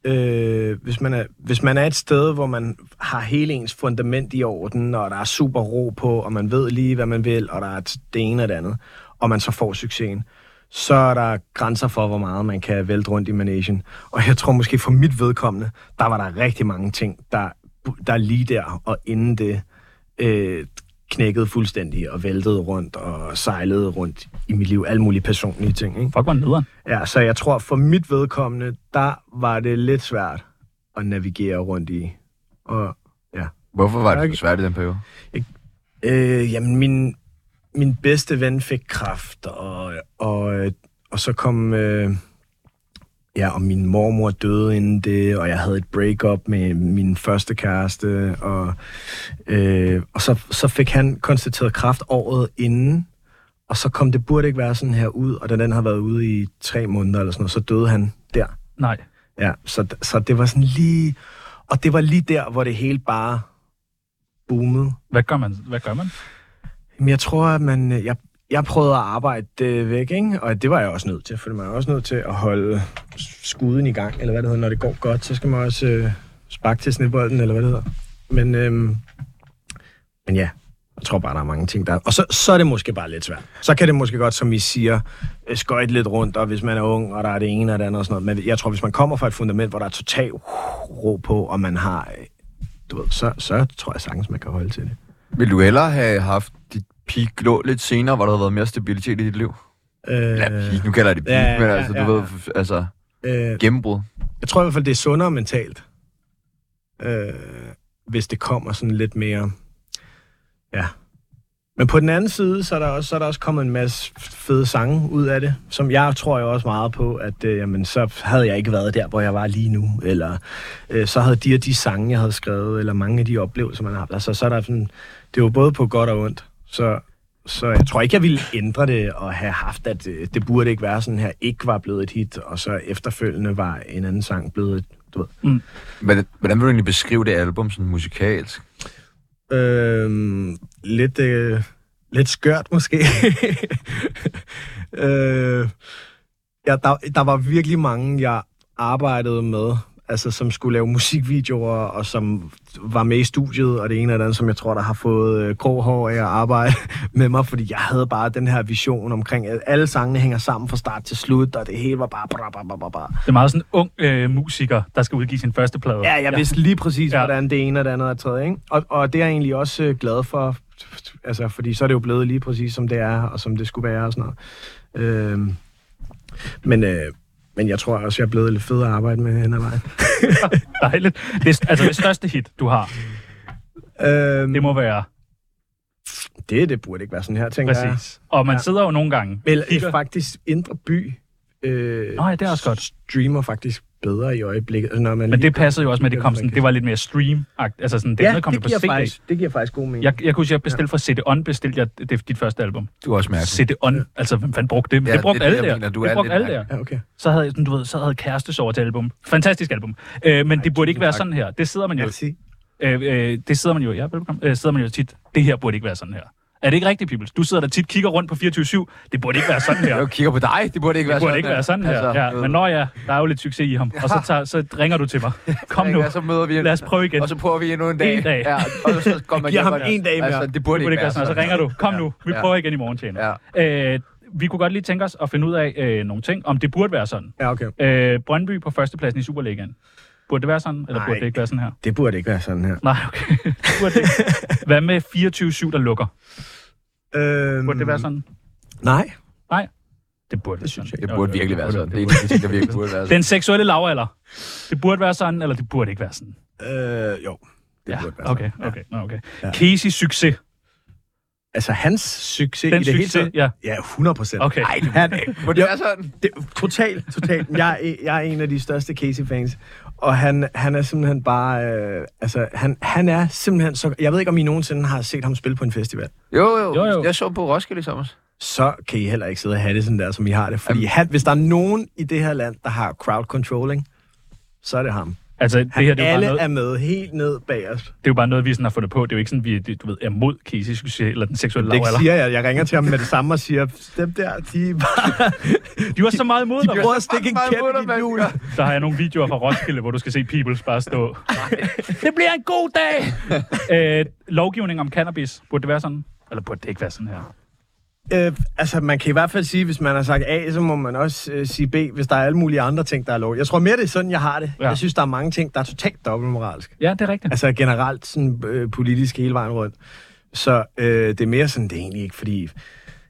S3: Øh, hvis, man er, hvis man er et sted, hvor man har hele ens fundament i orden, og der er super ro på, og man ved lige, hvad man vil, og der er t- det ene og det andet, og man så får succesen, så er der grænser for, hvor meget man kan vælte rundt i managen. Og jeg tror måske for mit vedkommende, der var der rigtig mange ting, der, der lige der og inden det øh, knækkede fuldstændig og væltede rundt og sejlede rundt i mit liv. Alle mulige personlige ting. Ikke?
S4: Fuck, var nederen.
S3: Ja, så jeg tror, for mit vedkommende, der var det lidt svært at navigere rundt i. Og
S1: Hvorfor var
S3: Jeg
S1: det
S3: kan-
S1: så svært i den periode?
S3: øh, jamen, min, min bedste ven fik kræft, og, og, øh, og så kom... Øh, ja, og min mormor døde inden det, og jeg havde et breakup med min første kæreste, og, øh, og så, så fik han konstateret kræft året inden, og så kom det burde ikke være sådan her ud, og da den har været ude i tre måneder eller sådan noget, så døde han der.
S4: Nej.
S3: Ja, så, så det var sådan lige... Og det var lige der, hvor det hele bare boomede.
S4: Hvad gør man? Hvad gør man?
S3: Men jeg tror, at man... øh, Jeg, jeg prøvede at arbejde det væk, ikke? Og det var jeg også nødt til, for man er også nødt til at holde skuden i gang, eller hvad det hedder. Når det går godt, så skal man også øh, sparke til snebolden, eller hvad det hedder. Men, øhm, men ja, jeg tror bare, der er mange ting der. Og så, så er det måske bare lidt svært. Så kan det måske godt, som I siger, øh, skøjte lidt rundt, og hvis man er ung, og der er det ene og det andet og sådan noget. Men jeg tror, hvis man kommer fra et fundament, hvor der er total uh, ro på, og man har... øh, Du ved, så, så tror jeg sagtens, man kan holde til det.
S1: Vil du hellere have haft dit peak lå lidt senere, hvor der havde været mere stabilitet i dit liv?
S3: Øh,
S1: Ja, peak. Nu kalder jeg det peak,
S3: ja,
S1: men
S3: ja,
S1: altså,
S3: ja,
S1: du
S3: ja.
S1: ved, f- altså...
S3: Øh,
S1: Gennembrud.
S3: jeg tror i hvert fald, det er sundere mentalt, øh, hvis det kommer sådan lidt mere... Ja. Men på den anden side, så er der også, så er der også kommet en masse fede sange ud af det, som jeg tror jeg også meget på, at øh, jamen, så havde jeg ikke været der, hvor jeg var lige nu, eller øh, så havde de og de sange, jeg havde skrevet, eller mange af de oplevelser, man har haft. Altså, så er der sådan, det er jo både på godt og ondt, så, så jeg tror ikke, jeg ville ændre det og have haft, at øh, det burde ikke være sådan her, ikke var blevet et hit, og så efterfølgende var en anden sang blevet et, du ved.
S1: Hvordan, hvordan vil du egentlig beskrive det album sådan musikalsk?
S3: Øhm, lidt, øh, lidt skørt måske. øh, ja, der, der var virkelig mange, jeg arbejdede med, altså som skulle lave musikvideoer, og som var med i studiet, og det ene og det andet, som jeg tror, der har fået øh, grå hår af at arbejde med mig, fordi jeg havde bare den her vision omkring, at alle sangene hænger sammen fra start til slut, og det hele var bare... Bra, bra, bra, bra, bra.
S4: Det er meget sådan en ung øh, musiker, der skal udgive sin første plade.
S3: Ja, jeg vidste lige præcis,
S4: Ja.
S3: ja. hvordan det ene og det andet er tredje. Ikke? Og, og det er jeg egentlig også øh, glad for, altså, fordi så er det jo blevet lige præcis, som det er, og som det skulle være og sådan noget. Øhm, men, øh, men jeg tror også, jeg er blevet lidt fed at arbejde med hen ad vejen.
S4: Dejligt. Det er, altså det største hit, du har,
S3: Øhm,
S4: det må være
S3: det, det burde ikke være sådan her, tænker jeg.
S4: præcis. Og man sidder jo nogle gange.
S3: Vel,
S4: kigger-
S3: øh, faktisk Indre By øh,
S4: Nå ja, det er også godt.
S3: streamer faktisk bedre i øjeblikket. Altså, Når man
S4: Men
S3: lige-
S4: det passede jo også med, at det kom sådan, det var lidt mere stream Altså sådan, det
S3: ja,
S4: noget kom
S3: det,
S4: det på
S3: giver
S4: CD.
S3: faktisk, det giver faktisk god mening.
S4: Jeg, jeg kunne sige, at jeg bestilte fra CD On, bestilte jeg det, det dit første album.
S1: Du er også mærkelig.
S4: CD On, altså hvem fanden brugte det? Men
S1: Ja,
S4: det brugte
S1: det er det,
S4: alle
S1: jeg
S4: der.
S1: mener, du
S4: det
S1: er
S4: brugte
S1: lidt
S4: alle der.
S3: Ja, okay.
S4: Så havde, sådan, du ved, så havde kærestes over til album. Fantastisk album. Øh, men det burde ikke være sådan her. Det sidder man jo.
S3: Merci.
S4: Øh, øh, det sidder man jo. Ja, velbekomme. Øh, sidder man jo tit. Det her burde ikke være sådan her. Er det ikke rigtigt, Peoples? Du sidder der tit, kigger rundt på 24-7. Det burde ikke være sådan her.
S1: Jeg kigger på dig. Det burde ikke være
S4: Det burde
S1: sådan Altså,
S4: ikke være sådan her. Ja,
S1: øh,
S4: men når ja, der er jo lidt succes i ham. Og så, tager, så ringer du til mig. Kom nu.
S1: Ja, så møder vi
S4: Lad os prøve igen.
S1: Og så prøver vi endnu en dag.
S4: En dag.
S1: Ja, og så går man
S3: Giver
S1: hjem,
S3: ham
S1: og-
S3: en dag mere.
S1: Altså, det burde,
S4: Det burde ikke være sådan. Så ringer du. Kom
S1: Ja.
S4: nu. Vi
S1: Ja.
S4: prøver igen i morgen, tjener. Øh, vi kunne godt lige tænke os at finde ud af øh, nogle ting, om det burde være sådan.
S3: Ja, okay.
S4: Øh, Brøndby på førstepladsen i Superligaen. Burde det være sådan, eller Nej.
S3: Nej.
S4: burde det ikke være sådan her?
S3: Det burde ikke være sådan her.
S4: Nej, okay. Det burde det ikke. Hvad med 24-7, der lukker?
S3: Øhm,
S4: Burde det være sådan?
S3: Nej.
S4: Det burde det synes
S1: Mm. Det burde virkelig være sådan. Det er en af de ting, der virkelig burde være sådan.
S4: Den seksuelle lavalder. Det burde være sådan, eller det burde ikke være sådan.
S3: Øh, jo. Det
S4: ja,
S3: burde være
S4: okay,
S3: sådan.
S4: okay, nå, okay. Ja.
S3: Ja.
S4: Casey succes.
S3: Altså, hans succes
S4: Den
S3: i det
S4: succes,
S3: hele taget...
S4: ja.
S3: Ja, 100 procent.
S4: Okay.
S1: Ej, det
S3: Han,
S1: burde det være sådan.
S3: det, totalt, totalt. Jeg, er- jeg er en af de største Casey-fans, og han, han er simpelthen bare... Øh, altså, han, han er simpelthen så... Jeg ved ikke, om I nogensinde har set ham spille på en festival.
S1: Jo,
S4: Jo,
S1: jo.
S4: jo.
S1: Jeg så på Roskilde i sommer.
S3: Så kan I heller ikke sidde og have det sådan der, som I har det. Fordi han, hvis der er nogen i det her land, der har crowd controlling, så er det ham.
S4: Altså, det
S3: Han,
S4: her det er, jo
S3: alle
S4: bare noget,
S3: er med helt ned bag os.
S4: det er jo bare noget, vi sådan har fundet på. Det er jo ikke sådan, vi du ved, er mod Casey succes, eller den seksuelle
S3: Det
S4: lavalder.
S3: siger jeg. Jeg ringer til ham med det samme og siger, dem der, de er bare...
S4: De var så meget imod
S3: De
S4: dig.
S3: prøver at stikke en
S1: meget
S3: kæp
S1: imod
S3: i
S1: dig,
S3: dit
S1: mand.
S3: hjul.
S4: Der har jeg nogle videoer fra Roskilde, hvor du skal se Peoples bare stå. det bliver en god dag! øh, lovgivning om cannabis, burde det være sådan? Eller burde det ikke være sådan her?
S3: Øh, altså, man kan i hvert fald sige, hvis man har sagt A, så må man også øh, sige B, hvis der er alle mulige andre ting, der er lov. Jeg tror mere, det er sådan, jeg har det.
S4: Ja.
S3: Ja. Jeg synes, der er mange ting, der er totalt dobbeltmoralsk.
S4: Ja, det er rigtigt.
S3: Altså generelt sådan øh, politisk hele vejen rundt. Så øh, det er mere sådan, det er egentlig ikke, fordi...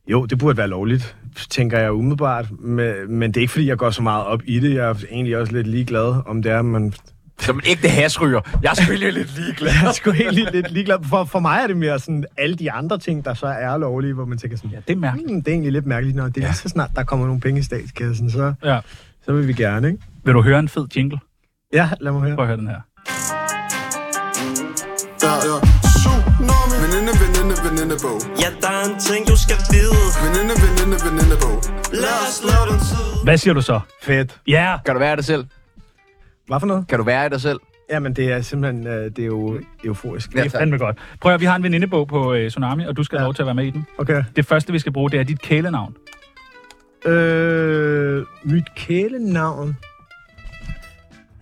S3: Jo, det burde være lovligt, tænker jeg umiddelbart, men, men det er ikke, fordi jeg går så meget op i det. Jeg er egentlig også lidt ligeglad, om det er, man
S1: Som en ægte hasryger. Jeg er selvfølgelig lidt ligeglad.
S3: Jeg er sgu helt lidt- lidt ligeglad. For, for mig er det mere sådan alle de andre ting, der så er lovlige, hvor man tænker sådan, ja,
S4: det er mærkeligt.
S3: hmm, det er egentlig lidt mærkeligt, når det er lige så snart, der kommer nogle penge i statskassen, så,
S4: Ja.
S3: så vil vi gerne, ikke?
S4: Vil du høre en fed jingle?
S3: Ja, lad mig høre.
S4: Prøv at høre den her.
S7: Der er tsunami Veninde, veninde, venindebog
S6: Ja, der er en ting, du skal vide
S7: Veninde, veninde, venindebog
S6: Lad os lave den tid
S4: Hvad siger du så?
S3: Fedt.
S4: Ja! Yeah.
S1: Kan du være dig selv?
S3: Hvad for noget?
S1: Kan du være dig selv?
S3: Jamen, det er simpelthen, øh, det er jo euforisk.
S1: Ja,
S4: Det er fandme godt. Prøv at høre, vi har en venindebog på øh, Tsunami, og du skal have
S3: Ja.
S4: lov til at være med i den.
S3: Okay.
S4: Det første, vi skal bruge, det er dit kælenavn.
S3: Øh, mit kælenavn.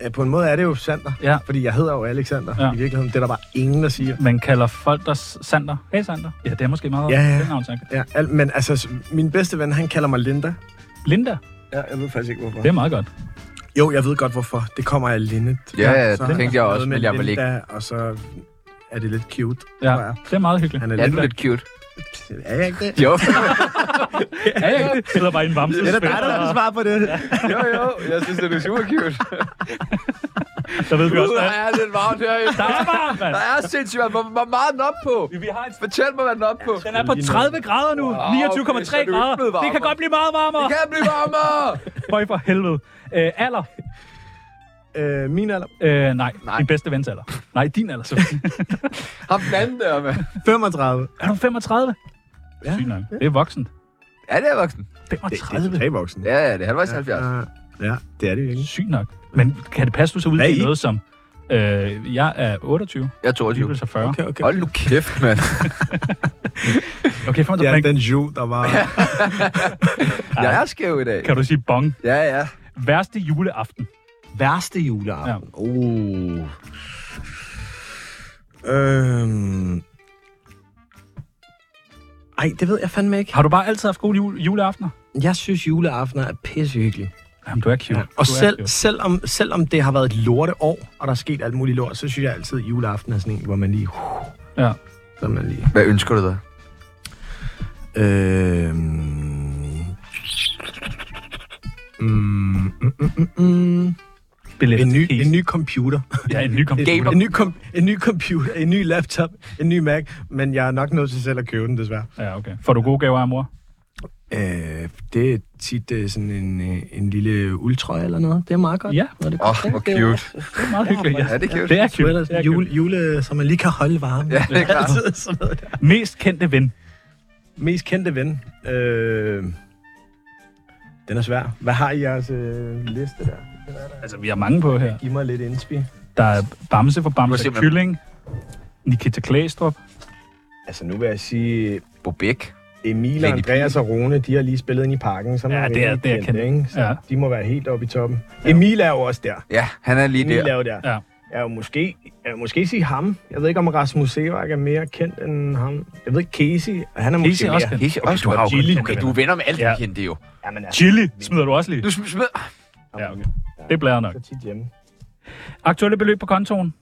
S3: Ja, på en måde er det jo Sander,
S4: Ja.
S3: fordi jeg hedder jo Alexander
S4: Ja.
S3: ja. i virkeligheden. Det er der bare ingen, der siger.
S4: Man kalder folk der Sander. Hey Sander. Ja, det er måske meget
S3: Ja, ja.
S4: kælenavn, tak.
S3: Ja, al- men altså, s- min bedste ven, han kalder mig Linda.
S4: Linda.
S3: Ja, jeg ved faktisk ikke, hvorfor.
S4: Det er meget godt.
S3: Jo, jeg ved godt hvorfor. Det kommer af Linnet.
S1: Ja, ja,
S3: så
S1: det
S3: har
S1: tænkte jeg
S3: noget
S1: også,
S3: med
S1: men jeg vil
S3: Linda, Og så er det lidt cute,
S4: Ja,
S3: tror jeg.
S4: det er meget hyggeligt.
S3: Han er
S1: Ja,
S3: lidt...
S1: du er lidt cute.
S3: Er jeg ikke det?
S1: Jo.
S4: Ja, ja. Jeg sidder bare i en vamse.
S9: Er det dig, der vil
S4: der,
S9: svare på det?
S1: Jo, jo, jeg synes, det er super cute.
S4: der ved vi også,
S1: Gud, der
S4: at
S1: er lidt varmt herinde.
S4: der er varmt, mand.
S1: Der er sindssygt varmt. Hvor, hvor meget er den op på?
S4: Vi har en
S1: Fortæl mig, hvad den er op på.
S4: Den er på 30 grader nu. 29,3
S1: okay, så er det jo ikke
S4: grader.
S1: blevet
S4: Det kan
S1: varmere.
S4: godt blive meget varmere.
S1: Kan jeg blive varmere?
S4: Bøj for helvede. Øh, alder?
S9: Øh, min alder.
S4: Øh, nej.
S1: Nej.
S4: Din bedste vens alder. Nej, din alder. selvfølgelig.
S1: Ham den anden der, mand.
S9: 35.
S4: er du 35? Ja. Sygt nok. Det er voksent.
S1: Ja, det er voksen.
S9: Det, det
S4: 35?
S9: er tre voksne.
S1: Ja, ja, det er halvvejs 70.
S9: Ja, ja, det er det virkelig.
S4: Sygt nok. Men kan det passe, du så ud
S9: Hvad er
S4: til
S9: I?
S4: noget som... Øh, jeg er 28,
S1: Jeg er
S4: og
S1: 22.
S4: du er så 40. Okay,
S9: okay.
S1: Hold nu kæft, mand.
S4: okay for mig,
S9: Ja,
S4: ja,
S9: den jo, der var...
S1: Jeg er skæv i dag.
S4: kan du sige bong.
S1: Ja, ja.
S4: Værste juleaften.
S9: Værste juleaften. Ja. Uh. Øhm. Ej, det ved jeg fandme ikke.
S4: Har du bare altid haft gode jule, juleaftener?
S3: Jeg synes, juleaftener er pissehyggelige.
S4: Jamen, du er cute. Ja.
S3: Og selv, selvom, selvom det har været et lorte år, og der er sket alt muligt lort, så synes jeg altid, at juleaften er sådan en, hvor man lige...
S4: Ja.
S3: Så er man lige...
S1: Hvad ønsker du dig?
S3: Øh... Mm, mm, mm, mm, mm.
S4: Billet.
S3: En, ny, en ny computer.
S4: Ja, en ny computer.
S1: Gamer.
S3: En
S4: Gamer.
S3: ny, kom, en ny computer, en ny laptop, en ny Mac, men jeg er nok nødt til selv at købe den, desværre.
S4: Ja, okay. Får du gode gaver af mor?
S3: Øh, det er tit øh, sådan en, øh, en lille ultra eller noget. Det er meget godt.
S4: Ja.
S3: Når det
S1: Åh, oh, hvor cute.
S4: Det er meget hyggeligt, ja.
S1: Ja, det er cute.
S4: Det er cute.
S3: Sweaters,
S4: Det er cute.
S3: jule, jule, så man lige kan holde varmen.
S1: Ja, det er klart.
S3: Altid sådan noget der.
S4: Mest kendte ven.
S3: Mest kendte ven. Øh, den er svær. Hvad har I i jeres øh, liste der?
S4: Altså, vi har mange på her.
S3: Giv mig lidt indspi.
S4: Der er Bamse for
S1: Du har
S4: Bamse
S1: simpelthen-
S4: Kylling. Nikita Klæstrup.
S3: Altså, nu vil jeg sige,
S1: Bobæk.
S3: Emil,
S1: Lenny
S3: Andreas og Rune, de har lige spillet ind i parken. Så er
S4: Ja,
S3: man
S4: det er-
S3: rimelig
S4: det er
S3: kendt,
S4: kendt.
S3: Ikke? Så
S4: Ja.
S3: de må være helt oppe i toppen. Emil er jo også der.
S1: Ja, han er lige
S3: Emil er
S1: der.
S3: jo der.
S4: Ja.
S3: Jeg vil måske, jeg vil måske sige ham. Jeg ved ikke, om Rasmus Sevak er mere kendt end ham. Jeg ved ikke, Casey. Han er måske
S4: Casey er også
S3: mere.
S1: Hisse
S4: Okay,
S1: også
S4: du har jo
S1: godt.
S4: kun
S1: Gilly.
S4: kendte
S1: Okay,
S4: venner.
S1: du er venner med alle,
S4: Ja.
S1: ja. kendte jo.
S3: Jamen, altså,
S4: Chili smider du også lige.
S1: Du smed...
S4: Ja, okay. Det blæder nok.
S3: så tit hjemme.
S4: Aktuelle beløb på kontoen.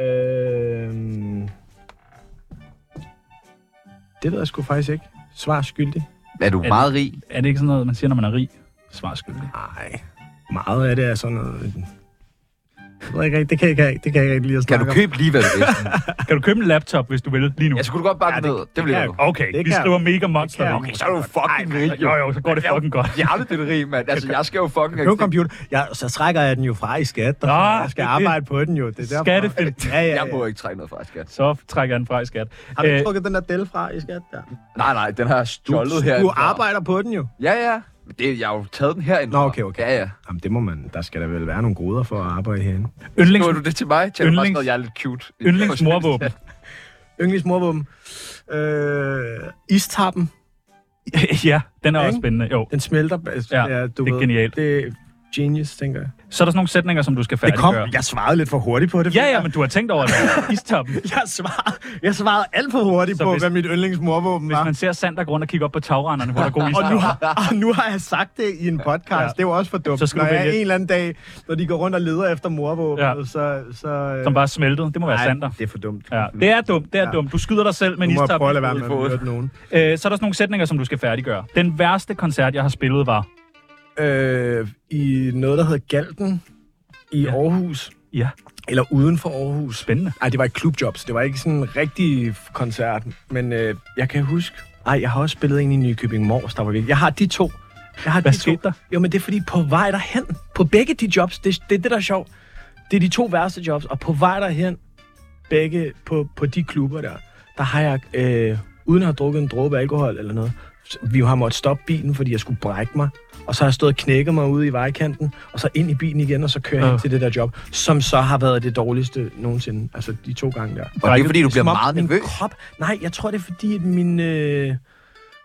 S3: Øhm, det ved jeg sgu faktisk ikke. Svar skyldig.
S1: Er du
S4: Er
S1: meget rig?
S4: Er det ikke sådan noget, man siger, når man er rig? Svar skyldig.
S3: Nej, meget af det er sådan noget... Jeg ved ikke, rigtig- det kan jeg ikke, det kan jeg ikke lige at
S1: Kan
S3: snakke
S1: du købe lige, hvad du vil?
S4: Kan du købe en laptop, hvis du vil, lige nu?
S1: Ja, så kunne du godt bakke
S3: Ja,
S1: ja, ned.
S3: det-
S1: Det, det vil
S3: kan
S1: jeg
S3: jeg
S1: jo.
S4: Okay,
S3: Det
S4: vi
S3: kan-
S4: skriver mega monster.
S3: kan jeg.
S4: ind.
S1: Okay, så er du fucking rig, jo.
S4: Jo, jo, så går det fucking godt.
S1: Jeg er aldrig det rig, mand. Altså, jeg skal jo fucking...
S3: om. Køb en computer. Ja, så trækker jeg den jo fra i skat. Der,
S4: Nå,
S3: jeg skal
S4: det-
S3: arbejde på den jo. Det er derfor.
S4: Skattefinansieret.
S3: Ja, ja,
S1: Jeg må
S3: ja.
S1: ikke trække noget fra, skat.
S4: Så trækker jeg den fra i skat.
S3: Har
S4: Øh,
S3: du trukket den der del fra i skat? Der?
S1: Nej, nej, den har jeg stjålet her.
S3: Du arbejder på den jo.
S1: Ja, ja. Men det, jeg har jo taget den herinde.
S3: Nå, okay, okay.
S1: Ja, ja.
S3: Jamen, det må man. Der skal der vel være nogle goder for at arbejde herinde.
S4: yndlings,
S1: Skriver du det til mig? Tjener du
S4: Yndlings-
S1: faktisk noget, jeg er lidt cute.
S4: yndlingsmorvåben.
S3: Yndlingsmorvåben. Øh, istappen.
S4: ja, den er også
S3: Ikke?
S4: spændende. Jo.
S3: Den smelter. Altså,
S4: Ja, det er genialt.
S3: Det er genius, tænker jeg.
S4: Så er der sådan nogle sætninger, som du skal
S3: Det kom.
S4: færdiggøre.
S3: Jeg svarede lidt for hurtigt på det.
S4: Ja,
S3: fordi
S4: ja,
S3: jeg-
S4: men du har tænkt over det. Istappen.
S3: Jeg svarede, jeg svarede alt for hurtigt
S4: Så
S3: på,
S4: hvis-
S3: hvad mit yndlingsmorvåben
S4: Hvis
S3: var.
S4: man ser Sander gå rundt og kigge op på tagrenderne, hvor der er gode
S3: Og nu,
S4: istapper.
S3: har, og nu har jeg sagt det i en podcast.
S4: Ja.
S3: Ja. Det er jo også for dumt.
S4: Så
S3: Så
S4: skal
S3: når
S4: du
S3: jeg
S4: vælge-
S3: en eller anden dag, når de går rundt og leder efter morvåbnet,
S4: Ja.
S3: ja. så... så øh,
S4: Som bare er smeltet. Det må være
S3: ej,
S4: Sander.
S3: det er for dumt.
S4: Ja, det er dumt, det er ja.
S3: Ja.
S4: dumt. Du skyder dig selv med
S3: Nu
S4: en
S3: må jeg
S4: istap.
S3: prøve at lade
S4: i
S3: være med
S1: fået.
S3: at høre nogen.
S4: hovedet. Øh, så er der sådan nogle sætninger, som du skal færdiggøre. Den værste koncert, jeg har spillet, var...
S3: Øh, I noget, der hedder Galten i
S4: Ja.
S3: ja. Aarhus.
S4: Ja,
S3: Eller uden for Aarhus.
S4: spændende.
S3: Ej, det var et klubjobs. Det var ikke sådan en rigtig f- koncert. Men øh, jeg kan huske... Ej, jeg har også spillet en i Nykøbing Mors, der var virkelig... Jeg har de to. Jeg har
S4: Hvad
S3: de to.
S4: skete der?
S3: Jo, men det er fordi på vej derhen, på begge de jobs, det, det er det, der er sjovt. Det er de to værste jobs, og på vej derhen, begge på, på de klubber der, der har jeg, øh, uden at have drukket en dråbe alkohol eller noget, s- vi har måttet stoppe bilen, fordi jeg skulle brække mig. Og så har jeg stået og knækket mig ude i vejkanten, og så ind i bilen igen, og så kører jeg
S4: Øh.
S3: hen til det der job, som så har været det dårligste nogensinde. Altså de to gange der.
S1: Og det er, fordi du
S3: Det er,
S1: bliver
S3: som om
S1: meget
S3: min
S1: nervøs.
S3: Krop, nej, jeg tror, det er fordi, at min, øh,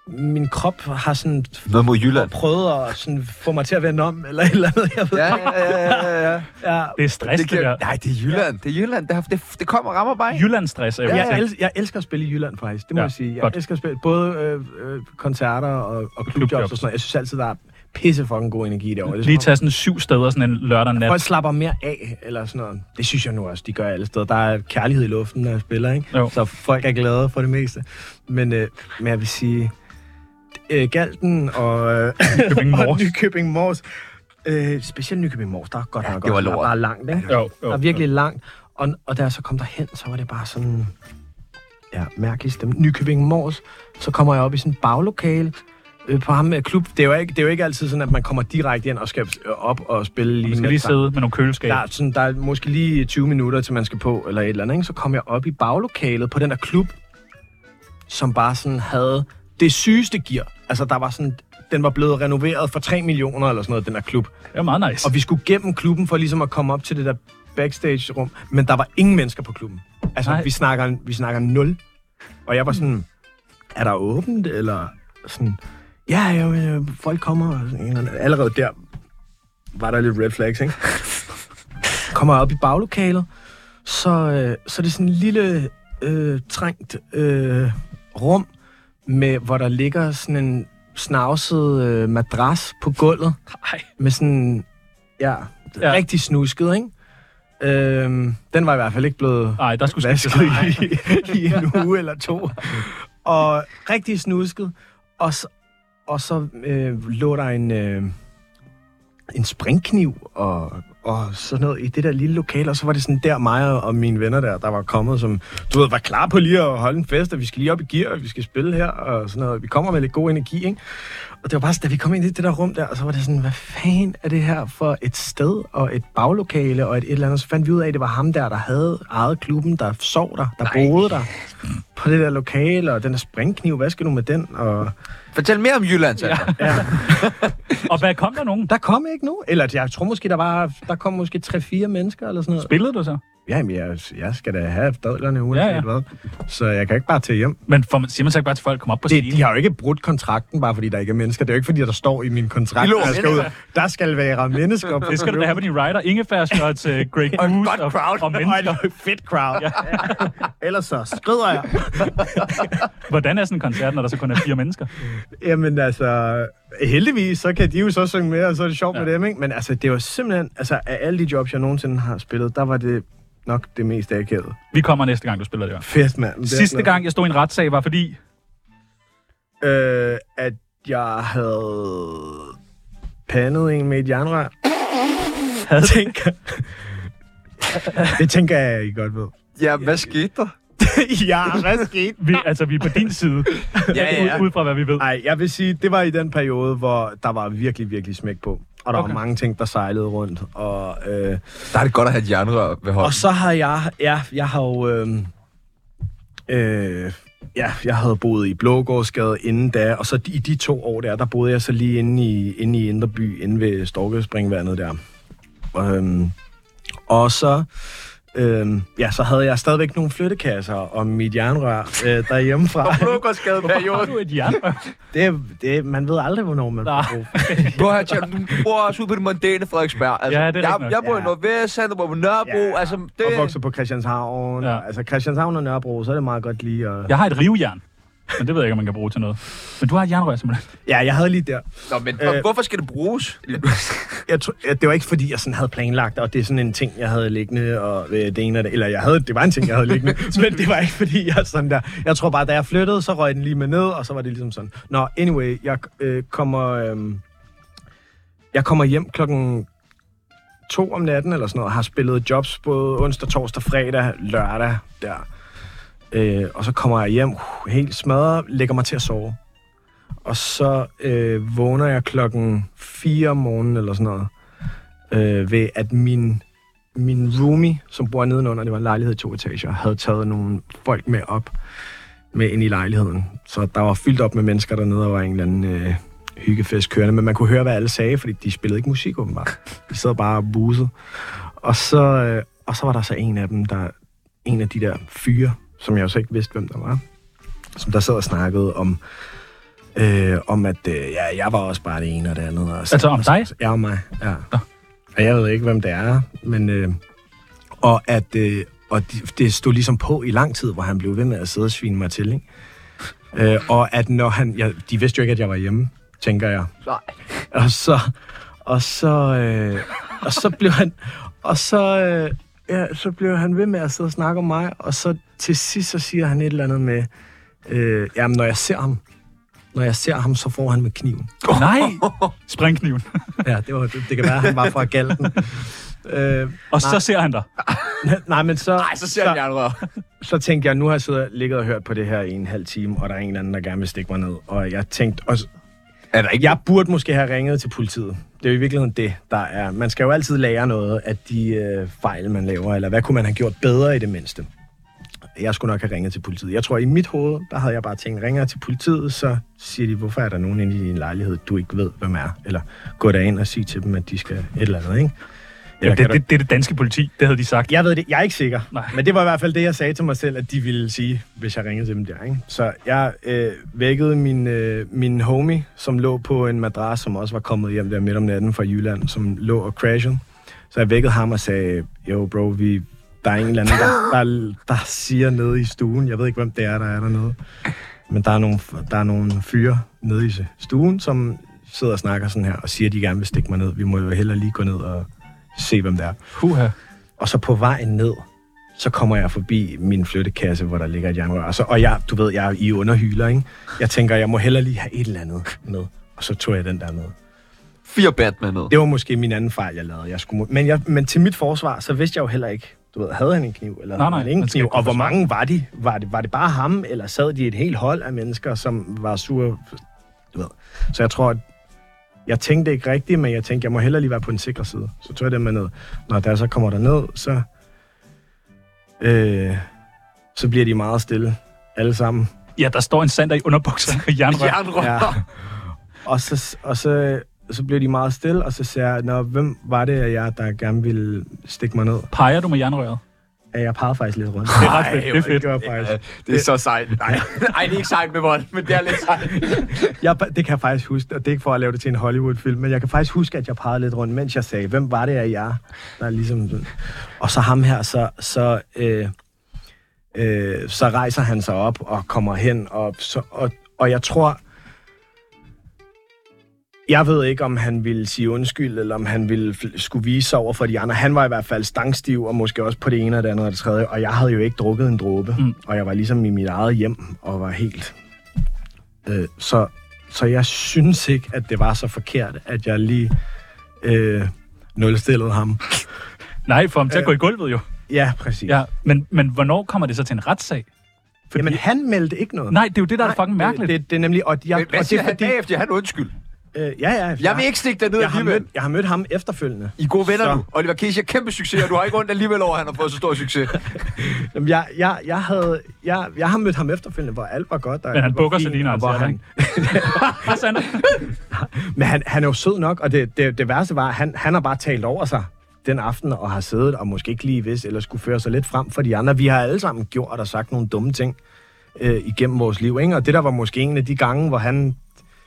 S3: min krop har sådan
S1: Noget mod Jylland.
S3: prøvet at sådan, få mig til at vende om, eller et eller andet, jeg ved.
S1: Ja, ja, ja, ja, ja.
S3: Ja.
S4: Det er stress, det,
S1: kan-
S4: der.
S1: Nej, det er Jylland. Det er Jylland. Det, har- det, det kommer og rammer bare. ikke?
S4: Jyllandsstress er jo
S3: Jeg,
S4: ja,
S3: el- jeg elsker at spille i Jylland, faktisk. Det må
S4: Ja,
S3: ja, jeg sige. Jeg
S4: godt.
S3: godt. elsker at spille både øh, øh, koncerter og, og
S4: klubjobs.
S3: klubjobs og sådan noget. Jeg synes altid, der er pisse fucking god energi derovre. Det er
S4: Lige
S3: som om,
S4: tage sådan syv steder sådan en lørdag nat.
S3: Folk slapper mere af, eller sådan noget. Det synes jeg nu også, de gør alle steder. Der er kærlighed i luften, når jeg spiller, ikke?
S4: Jo.
S3: Så folk er glade for det meste. Men, øh, men jeg vil sige, øh, Galten og, øh,
S4: Nykøbing
S3: og
S4: Mors.
S3: Nykøbing Mors. Øh, specielt Nykøbing Mors, der er godt ja, nok
S1: det var
S3: også- der er
S1: lort.
S3: bare langt, ikke?
S4: Jo,
S3: Der er virkelig langt. Og, og da jeg så kom derhen, så var det bare sådan... Ja, mærkelig stemme. Nykøbing Mors. Så kommer jeg op i sådan en baglokale øh, på ham med klub. Det er, jo ikke, det er jo ikke altid sådan, at man kommer direkte ind og skal øh, op og spille lige
S4: Vi skal
S3: med
S4: lige
S3: det samme.
S4: sidde med nogle køleskab.
S3: Der er, sådan, der er måske lige 20 minutter, til man skal på, eller et eller andet. Ikke? Så kom jeg op i baglokalet på den der klub, som bare sådan havde det sygeste gear. Altså, der var sådan, den var blevet renoveret for 3 millioner eller sådan noget, den der klub.
S4: Det er meget nice.
S3: Og vi skulle gennem klubben for ligesom at komme op til det der backstage-rum. Men der var ingen mennesker på klubben. Altså,
S4: Nej.
S3: vi snakker, vi snakker nul. Og jeg var sådan, er der åbent? Eller sådan, ja, ja, ja folk kommer. og sådan en eller anden- Allerede der var der lidt red flags, ikke? kommer jeg op i baglokalet, så, øh, så er det sådan en lille øh, trængt øh, rum, med, hvor der ligger sådan en snavset øh, madras på gulvet.
S4: Ej.
S3: Med sådan, ja,
S4: Ja.
S3: ja. rigtig snusket, ikke? Øhm, den var i hvert fald ikke blevet
S4: Nej, der skulle skiftes.
S3: vasket i, i en uge eller to. Og rigtig snusket. Og så, og så øh, lå der en, øh, en springkniv og, og sådan noget i det der lille lokale. Og så var det sådan der mig og- og mine venner der, der var kommet, som du ved, var klar på lige at holde en fest, og vi skal lige op i gear, og vi skal spille her, og sådan noget. Vi kommer med lidt god energi, ikke? Og det var bare sådan, da vi kom ind i det der rum der, og så var det sådan, hvad fanden er det her for et sted og et baglokale og et, et eller andet? Så fandt vi ud af, at det var ham der, der havde ejet klubben, der sov der, der Nej. boede der på det der lokale, og den der springkniv, hvad skal du med den? Og
S1: Fortæl mere om Jylland, ja.
S4: Og hvad kom der nogen?
S3: der kom ikke nogen. Eller jeg tror måske, der var, der kom måske 3-4 mennesker eller sådan noget.
S4: Spillede du så?
S3: Jamen, jeg, jeg skal da have dadlerne uanset
S4: Ja,
S3: ja,
S4: ja.
S3: ja. hvad. Så jeg kan ikke bare tage hjem.
S4: Men får man, siger man så ikke bare til folk, kom op på
S3: Det,
S4: scenen?
S3: de har jo ikke brudt kontrakten, bare fordi der ikke er mennesker. Det er jo ikke fordi, der står i min kontrakt,
S1: De lå
S3: at jeg skal ud. Der skal være mennesker. på
S4: Det skal du da have på din rider. Ingefær Shots, uh, Greg
S1: Og en
S4: Goose
S1: godt
S4: og,
S1: crowd.
S4: og mennesker.
S3: Og et fedt crowd. Ja. Ellers så skrider jeg.
S4: Hvordan er sådan en koncert, når der så kun er fire mennesker?
S3: Jamen altså, heldigvis, så kan de jo så synge med, og så er det sjovt ja. med dem, ikke? Men altså, det var simpelthen, altså af alle de jobs, jeg nogensinde har spillet, der var det nok det mest akavet.
S4: Vi kommer næste gang, du spiller det her.
S3: Fedt, mand. Det er
S4: Sidste
S3: sådan-
S4: gang, jeg stod i en retssag, var fordi...
S3: Øh, at jeg havde pandet en med et jernrør. Havde tænker. det tænker jeg, I godt ved.
S1: ja, hvad skete der?
S3: ja, hvad skete?
S4: Vi, altså, vi er på din side.
S1: Ja, ja.
S4: Ud, ud fra, hvad vi ved.
S3: Nej, jeg vil sige, det var i den periode, hvor der var virkelig, virkelig smæk på. Og der okay.
S4: Okay.
S3: var mange ting, der sejlede rundt. Og, øh,
S1: Der er det godt at have et jernrør ved hånden.
S3: og så har jeg... Ja, jeg har jo... Øh, øh, ja, jeg havde boet i Blågårdsgade inden da, og så i de to år der, der boede jeg så lige inde i, inde i Indre By, inde ved Storkespringvandet der. Og, øhm, og så... Øhm, ja, så havde jeg stadigvæk nogle flyttekasser og mit jernrør øh, derhjemmefra.
S1: Blågårdsgade
S4: Har
S1: periode.
S4: du et hjerte?
S3: Det, det, man ved aldrig, hvornår man får
S4: Nej.
S3: brug
S1: Bro, her, Tjerno, du bor også ude på det mondæne Frederiksberg. Altså,
S4: Ja, det er rigtigt
S1: jeg,
S4: nok.
S1: jeg bor i
S3: Ja.
S1: Nordvest, han bor på Nørrebro.
S3: Ja,
S1: Altså, det,
S3: og vokset på Christianshavn.
S4: Ja.
S3: Ja. Altså Christianshavn og Nørrebro, så er det meget godt lige at... Ja,
S4: Jeg har et rivjern. Men det ved jeg ikke, om man kan bruge til noget. Men du har et jernrør, simpelthen.
S3: ja jeg havde lige der.
S1: Nå, men
S3: Øh.
S1: hvorfor skal det bruges?
S3: Jeg tro, ja, det var ikke fordi, jeg sådan havde planlagt, og det er sådan en ting, jeg havde liggende, og øh, det ene og det, Eller jeg havde, det var en ting, jeg havde liggende, men det var ikke fordi, jeg sådan der... Jeg tror bare, da jeg flyttede, så røg den lige med ned, og så var det ligesom sådan... Nå, anyway, jeg øh, kommer... Øh, jeg kommer hjem klokken to om natten eller sådan noget, har spillet jobs både onsdag, torsdag, fredag, lørdag der. Øh, og så kommer jeg hjem uh, helt smadret, lægger mig til at sove. Og så øh, vågner jeg klokken 4 om morgenen eller sådan noget, øh, ved at min, min roomie, som bor nedenunder, det var en lejlighed i to etager, havde taget nogle folk med op med ind i lejligheden. Så der var fyldt op med mennesker dernede, og var en eller anden øh, hyggefest kørende, men man kunne høre, hvad alle sagde, fordi de spillede ikke musik åbenbart. De sad bare og busede. Og så, øh, og så var der så en af dem, der, en af de der fyre, som jeg jo så ikke vidste, hvem der var, som der sad og snakkede om, øh, om at øh, ja, jeg var også bare det ene og det andet. Og så,
S4: Altså om dig?
S3: Ja, om mig, ja. Og jeg ved ikke, hvem det er, men... Øh, og at øh, og det, det stod ligesom på i lang tid, hvor han blev ved med at sidde og svine mig til, ikke? Øh, og at når han... Ja, de vidste jo ikke, at jeg var hjemme, tænker jeg.
S1: Nej.
S3: Og så... Og så... Øh, og så blev han... Og så... Øh, ja, så blev han ved med at sidde og snakke om mig, og så til sidst så siger han et eller andet med... Øh, jamen, når jeg ser ham, Når jeg ser ham, så får han med kniven.
S4: Nej! Springkniven.
S3: Ja, det, var, det, det kan være, at han var fra Galten. øh,
S4: Og så ser han dig.
S3: nej, men så...
S1: Nej, så ser han jernrør.
S3: så tænkte jeg, nu har jeg siddet og ligget og hørt på det her i en halv time, og der er en eller anden, der gerne vil stikke mig ned. Og jeg tænkte, og
S1: Er der ikke?
S3: jeg burde måske have ringet til politiet. Det er jo i virkeligheden det, der er. Man skal jo altid lære noget af de øh, fejl, man laver, eller hvad kunne man have gjort bedre i det mindste. Jeg skulle nok have ringet til politiet. Jeg tror, i mit hoved, der havde jeg bare tænkt, ringer jeg til politiet, så siger de, hvorfor er der nogen inde i din lejlighed, du ikke ved, hvem er? Eller gå derind og sige til dem, at de skal et eller andet, ikke? Eller
S4: Jamen,
S3: kan
S4: det,
S3: du-
S4: det, det er det danske politi, det havde de sagt.
S3: jeg ved det. Jeg er ikke sikker.
S4: Nej.
S3: Nej. Men det var i hvert fald det, jeg sagde til mig selv, at de ville sige, hvis jeg ringede til dem der. Ikke? Så jeg øh, vækkede min, øh, min homie, som lå på en madras, som også var kommet hjem der midt om natten fra Jylland, som lå og crashede. Så jeg vækkede ham og sagde, jo bro, vi, der er en eller anden, der, der, der siger nede i stuen. Jeg ved ikke, hvem det er, der er dernede. Men der er nogle, der er nogle fyre nede i stuen, som sidder og snakker sådan her, og siger, at de gerne vil stikke mig ned. Vi må jo hellere lige gå ned og se, hvem det er.
S4: Puha.
S3: Og så på vejen ned, så kommer jeg forbi min flyttekasse, hvor der ligger et jernrør. Og, så, og jeg, du ved, jeg er i underhyler, ikke? Jeg tænker, jeg må hellere lige have et eller andet med. Og så tog jeg den der med.
S1: Fire Batman ned.
S3: Det var måske min anden fejl, jeg lavede. Jeg skulle, må- men, jeg, men til mit forsvar, så vidste jeg jo heller ikke, du ved, havde han en kniv, eller
S4: Nej,
S3: havde
S4: nej,
S3: han ingen
S4: man skal
S3: kniv,
S4: kunne
S3: og hvor
S4: forsvare.
S3: mange var de? Var det, var det bare ham, eller sad de et helt hold af mennesker, som var sure? Du ved. Så jeg tror, at jeg tænkte ikke rigtigt, men jeg tænkte, jeg må hellere lige være på den sikre side. Så tog jeg den med ned. Når der så kommer der ned, så, øh, så bliver de meget stille, alle sammen.
S4: Ja, der står en sander i underbukserne og jernrør.
S1: Jernrør.
S3: Ja. Og så, og så, så blev de meget stille, og så sagde jeg, Nå, hvem var det af jer, der gerne ville stikke mig ned?
S4: Peger du med jernrøret?
S3: Ja, jeg pegede faktisk lidt rundt.
S4: Det er ret fedt. Det er fedt.
S3: Det var faktisk...
S1: Det er så sejt. Nej, nej, det er ikke sejt med vold, men det er lidt sejt.
S3: Jeg, det kan jeg faktisk huske, og det er ikke for at lave det til en Hollywood-film, men jeg kan faktisk huske, at jeg pegede lidt rundt, mens jeg sagde, hvem var det af jer? Der er ligesom... Og så ham her, så, så, øh, øh, så rejser han sig op og kommer hen, og, så, og, og jeg tror... Jeg ved ikke, om han ville sige undskyld, eller om han ville fl- skulle vise sig over for de andre. Han var i hvert fald stangstiv, og måske også på det ene og det andet og det tredje. Og jeg havde jo ikke drukket en dråbe, mm. og jeg var ligesom i mit eget hjem, og var helt... Øh, så, så jeg synes ikke, at det var så forkert, at jeg lige øh, nulstillede ham.
S4: Nej, for ham til at gå i gulvet jo.
S3: Ja, præcis.
S4: Ja, men, men hvornår kommer det så til en retssag? Fordi,
S3: Jamen, han meldte ikke noget.
S4: nej, det er jo det, der er fucking mærkeligt.
S3: Det, det, det er nemlig... Og, jeg,
S1: Men hvad
S3: og det
S1: siger
S3: er
S1: han
S3: fordi...
S1: bagefter? Han undskyld.
S3: Øh, ja, ja.
S1: Jeg vil ikke stikke dig ned
S3: jeg har,
S1: alligevel.
S3: mødt, jeg har mødt ham efterfølgende.
S1: I er gode venner
S3: Så-
S1: nu. Oliver Kies, jeg er kæmpe succes, og du har ikke ondt alligevel over, at han har fået så stor succes.
S3: Jamen, jeg, jeg, jeg, havde, jeg, jeg har mødt ham efterfølgende, hvor alt var godt. Og
S4: Men han
S3: alt var
S4: bukker sig
S3: fint,
S4: lige, når
S3: og
S4: han
S3: hvor
S4: ser dig, ikke? Hej, Sander.
S3: Men han, han er jo sød nok, og det, det, det værste var, at han, han har bare talt over sig den aften og har siddet og måske ikke lige vidst, eller skulle føre sig lidt frem for de andre. Vi har alle sammen gjort og sagt nogle dumme ting øh, igennem vores liv, ikke? og det der var måske en af de gange, hvor han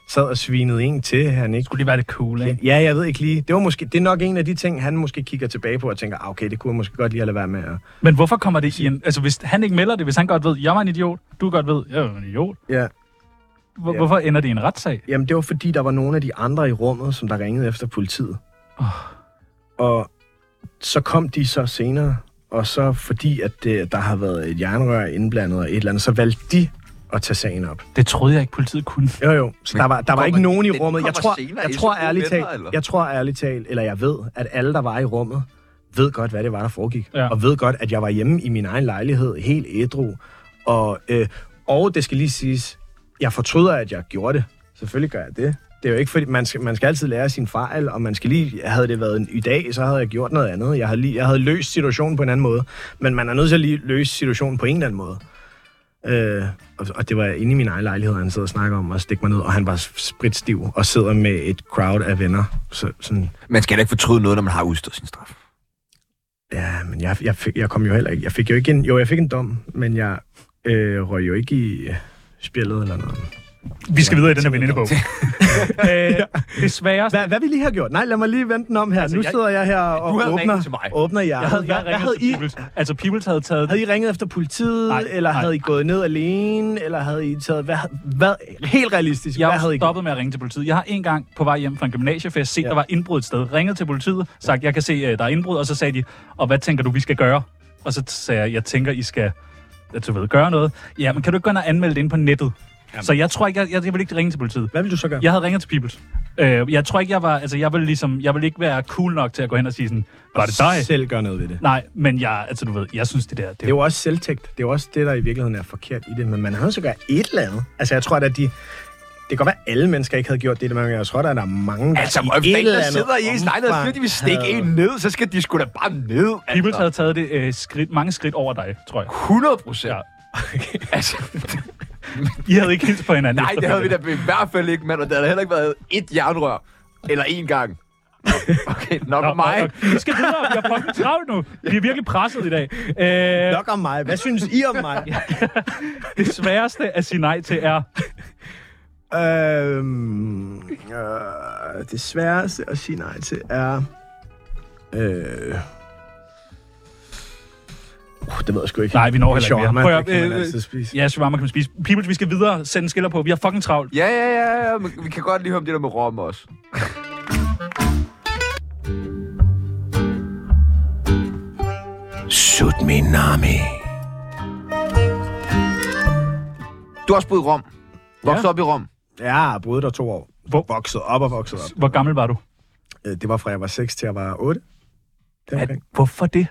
S3: sad og svinede en til, han ikke
S4: Skulle lige være lidt cool, ikke?
S3: Ja, jeg ved ikke lige. Det, var måske, det er nok en af de ting, han måske kigger tilbage på og tænker, ah, okay, det kunne jeg måske godt lige have lade være med. at-"
S4: Men hvorfor kommer det i en... Altså, hvis han ikke melder det, hvis han godt ved, jeg var en idiot, du godt ved, jeg var en idiot.
S3: Ja.
S4: Hvor,
S3: Ja.
S4: Hvorfor ender det i en retssag?
S3: Jamen, det var fordi, der var nogle af de andre i rummet, som der ringede efter politiet. Oh. Og så kom de så senere, og så fordi, at det, der har været et jernrør indblandet og et eller andet, så valgte de at tage sagen op.
S4: Det troede jeg ikke, politiet kunne.
S3: Jo, jo. Så der var, der var
S1: kommer-
S3: ikke nogen i
S1: men de
S3: rummet. Jeg
S1: kommer
S3: tror,
S1: senere, I
S3: jeg
S1: er
S3: tror
S1: så gode
S3: ærligt
S1: venner,
S3: talt,
S1: eller?
S3: jeg tror ærligt talt, eller jeg ved, at alle, der var i rummet, ved godt, hvad det var, der foregik.
S4: Ja.
S3: Ja. Og ved godt, at jeg var hjemme i min egen lejlighed, helt ædru. Og, øh, og det skal lige siges, jeg fortryder, at jeg gjorde det. Selvfølgelig gør jeg det. Det er jo ikke fordi, man skal, man skal altid lære sin fejl, og man skal lige, havde det været en, i dag, så havde jeg gjort noget andet. Jeg havde, lige, jeg havde løst situationen på en anden måde. Men man er nødt til at lige løse situationen på en eller anden måde. Øh, og, og det var inde i min egen lejlighed, han sad og snakkede om at stikke mig ned, og han var spritstiv og sidder med et crowd af venner. Så, sådan,
S1: Man skal da ikke fortryde noget, når man har udstået sin straf.
S3: ja, men jeg, jeg, fik, jeg kom jo heller ikke. Jeg fik jo ikke en, jo, jeg fik en dom, men jeg øh, røg jo ikke i øh, spillet eller noget.
S4: Vi skal videre i den her venindebog. øh, det sværeste...
S3: Hvad, hvad vi lige har gjort? Nej, lad mig lige vente den om her. Altså, nu
S1: jeg-
S3: sidder jeg her og
S1: havde
S3: åbner,
S1: ringet til mig.
S3: åbner jer.
S4: Jeg havde, jeg
S3: hvad, hvad havde
S4: ringet
S3: I?
S4: til Pibels. Altså, Pibels havde taget...
S3: Havde I ringet efter politiet,
S4: Nej,
S3: nej, eller
S4: nej,
S3: havde I
S4: nej.
S3: gået ned alene, eller havde I taget... Hvad, hvad, helt realistisk,
S4: Jeg
S3: hvad
S4: har
S3: havde I
S4: stoppet med at ringe til politiet. Jeg har en gang på vej hjem fra en gymnasiefest set, ja.
S3: Ja.
S4: der var indbrud et sted. Ringet til politiet, sagt, jeg kan se, øh, der er indbrud, og så sagde de, og hvad tænker du, vi skal gøre? Og så sagde jeg, jeg tænker, I skal at du ved, gøre noget. Ja, men kan du ikke gå ind og anmelde det ind på nettet? Så jeg tror ikke, jeg, jeg, jeg vil ikke ringe til politiet.
S3: Hvad vil du så gøre?
S4: Jeg havde ringet til Peoples. Øh, jeg tror ikke, jeg var... Altså, jeg ville ligesom... Jeg ville ikke være cool nok til at gå hen og sige sådan... Var det dig?
S3: Selv gøre noget ved det.
S4: Nej, men jeg... Altså, du ved, jeg synes, det der...
S3: Det er jo også selvtægt. Det er jo også det, der i virkeligheden er forkert i det. Men man havde så gør et eller andet. Altså, jeg tror, at de... Det kan godt være, at alle mennesker ikke havde gjort det, men jeg tror, at der er mange, der
S1: Altså,
S3: i
S1: hvor fanden
S3: eller
S1: der
S3: andet
S1: sidder i ens nej, der
S3: omfang
S1: siger, de vil stikke
S3: havde-
S1: en ned, så skal de sgu da bare ned. Altså,
S4: Peoples havde taget det øh, skridt, mange skridt over dig, tror jeg.
S1: 100 procent.
S4: Ja.
S1: Altså,
S4: I havde ikke hilst på hinanden.
S1: nej, det havde vi da
S4: efterfølgende.
S1: i hvert fald ikke, mand, og der havde heller ikke været et jernrør. Eller én gang. Okay, nok om mig.
S4: Nå, nå, Vi skal videre, vi har fucking travlt nu. Vi er virkelig presset i dag. Øh,
S3: Nok om mig. Hvad synes I om mig?
S4: det sværeste at sige nej til er...
S3: øhm, øh, det sværeste at sige nej til er... Øh, uh, det ved jeg sgu ikke.
S4: Nej, vi når heller ikke mere.
S3: Shawarma,
S4: Prøv
S3: det
S4: at,
S3: kan man
S4: øh,
S3: altid spise.
S4: ja, shawarma kan man spise. Peoples, vi skal videre sende skiller på. Vi har fucking travlt.
S1: Ja, ja, ja, ja, men vi kan godt lige høre om det der med Rom også.
S2: Sut min nami.
S1: Du har også boet i Rom. Vokset op i Rom.
S3: Ja, jeg boede der to år.
S4: Hvor-
S3: Vokset op og vokset op.
S4: Hvor gammel var du?
S3: Øh, Det var fra jeg var 6 til jeg var 8.
S4: At, hvorfor det?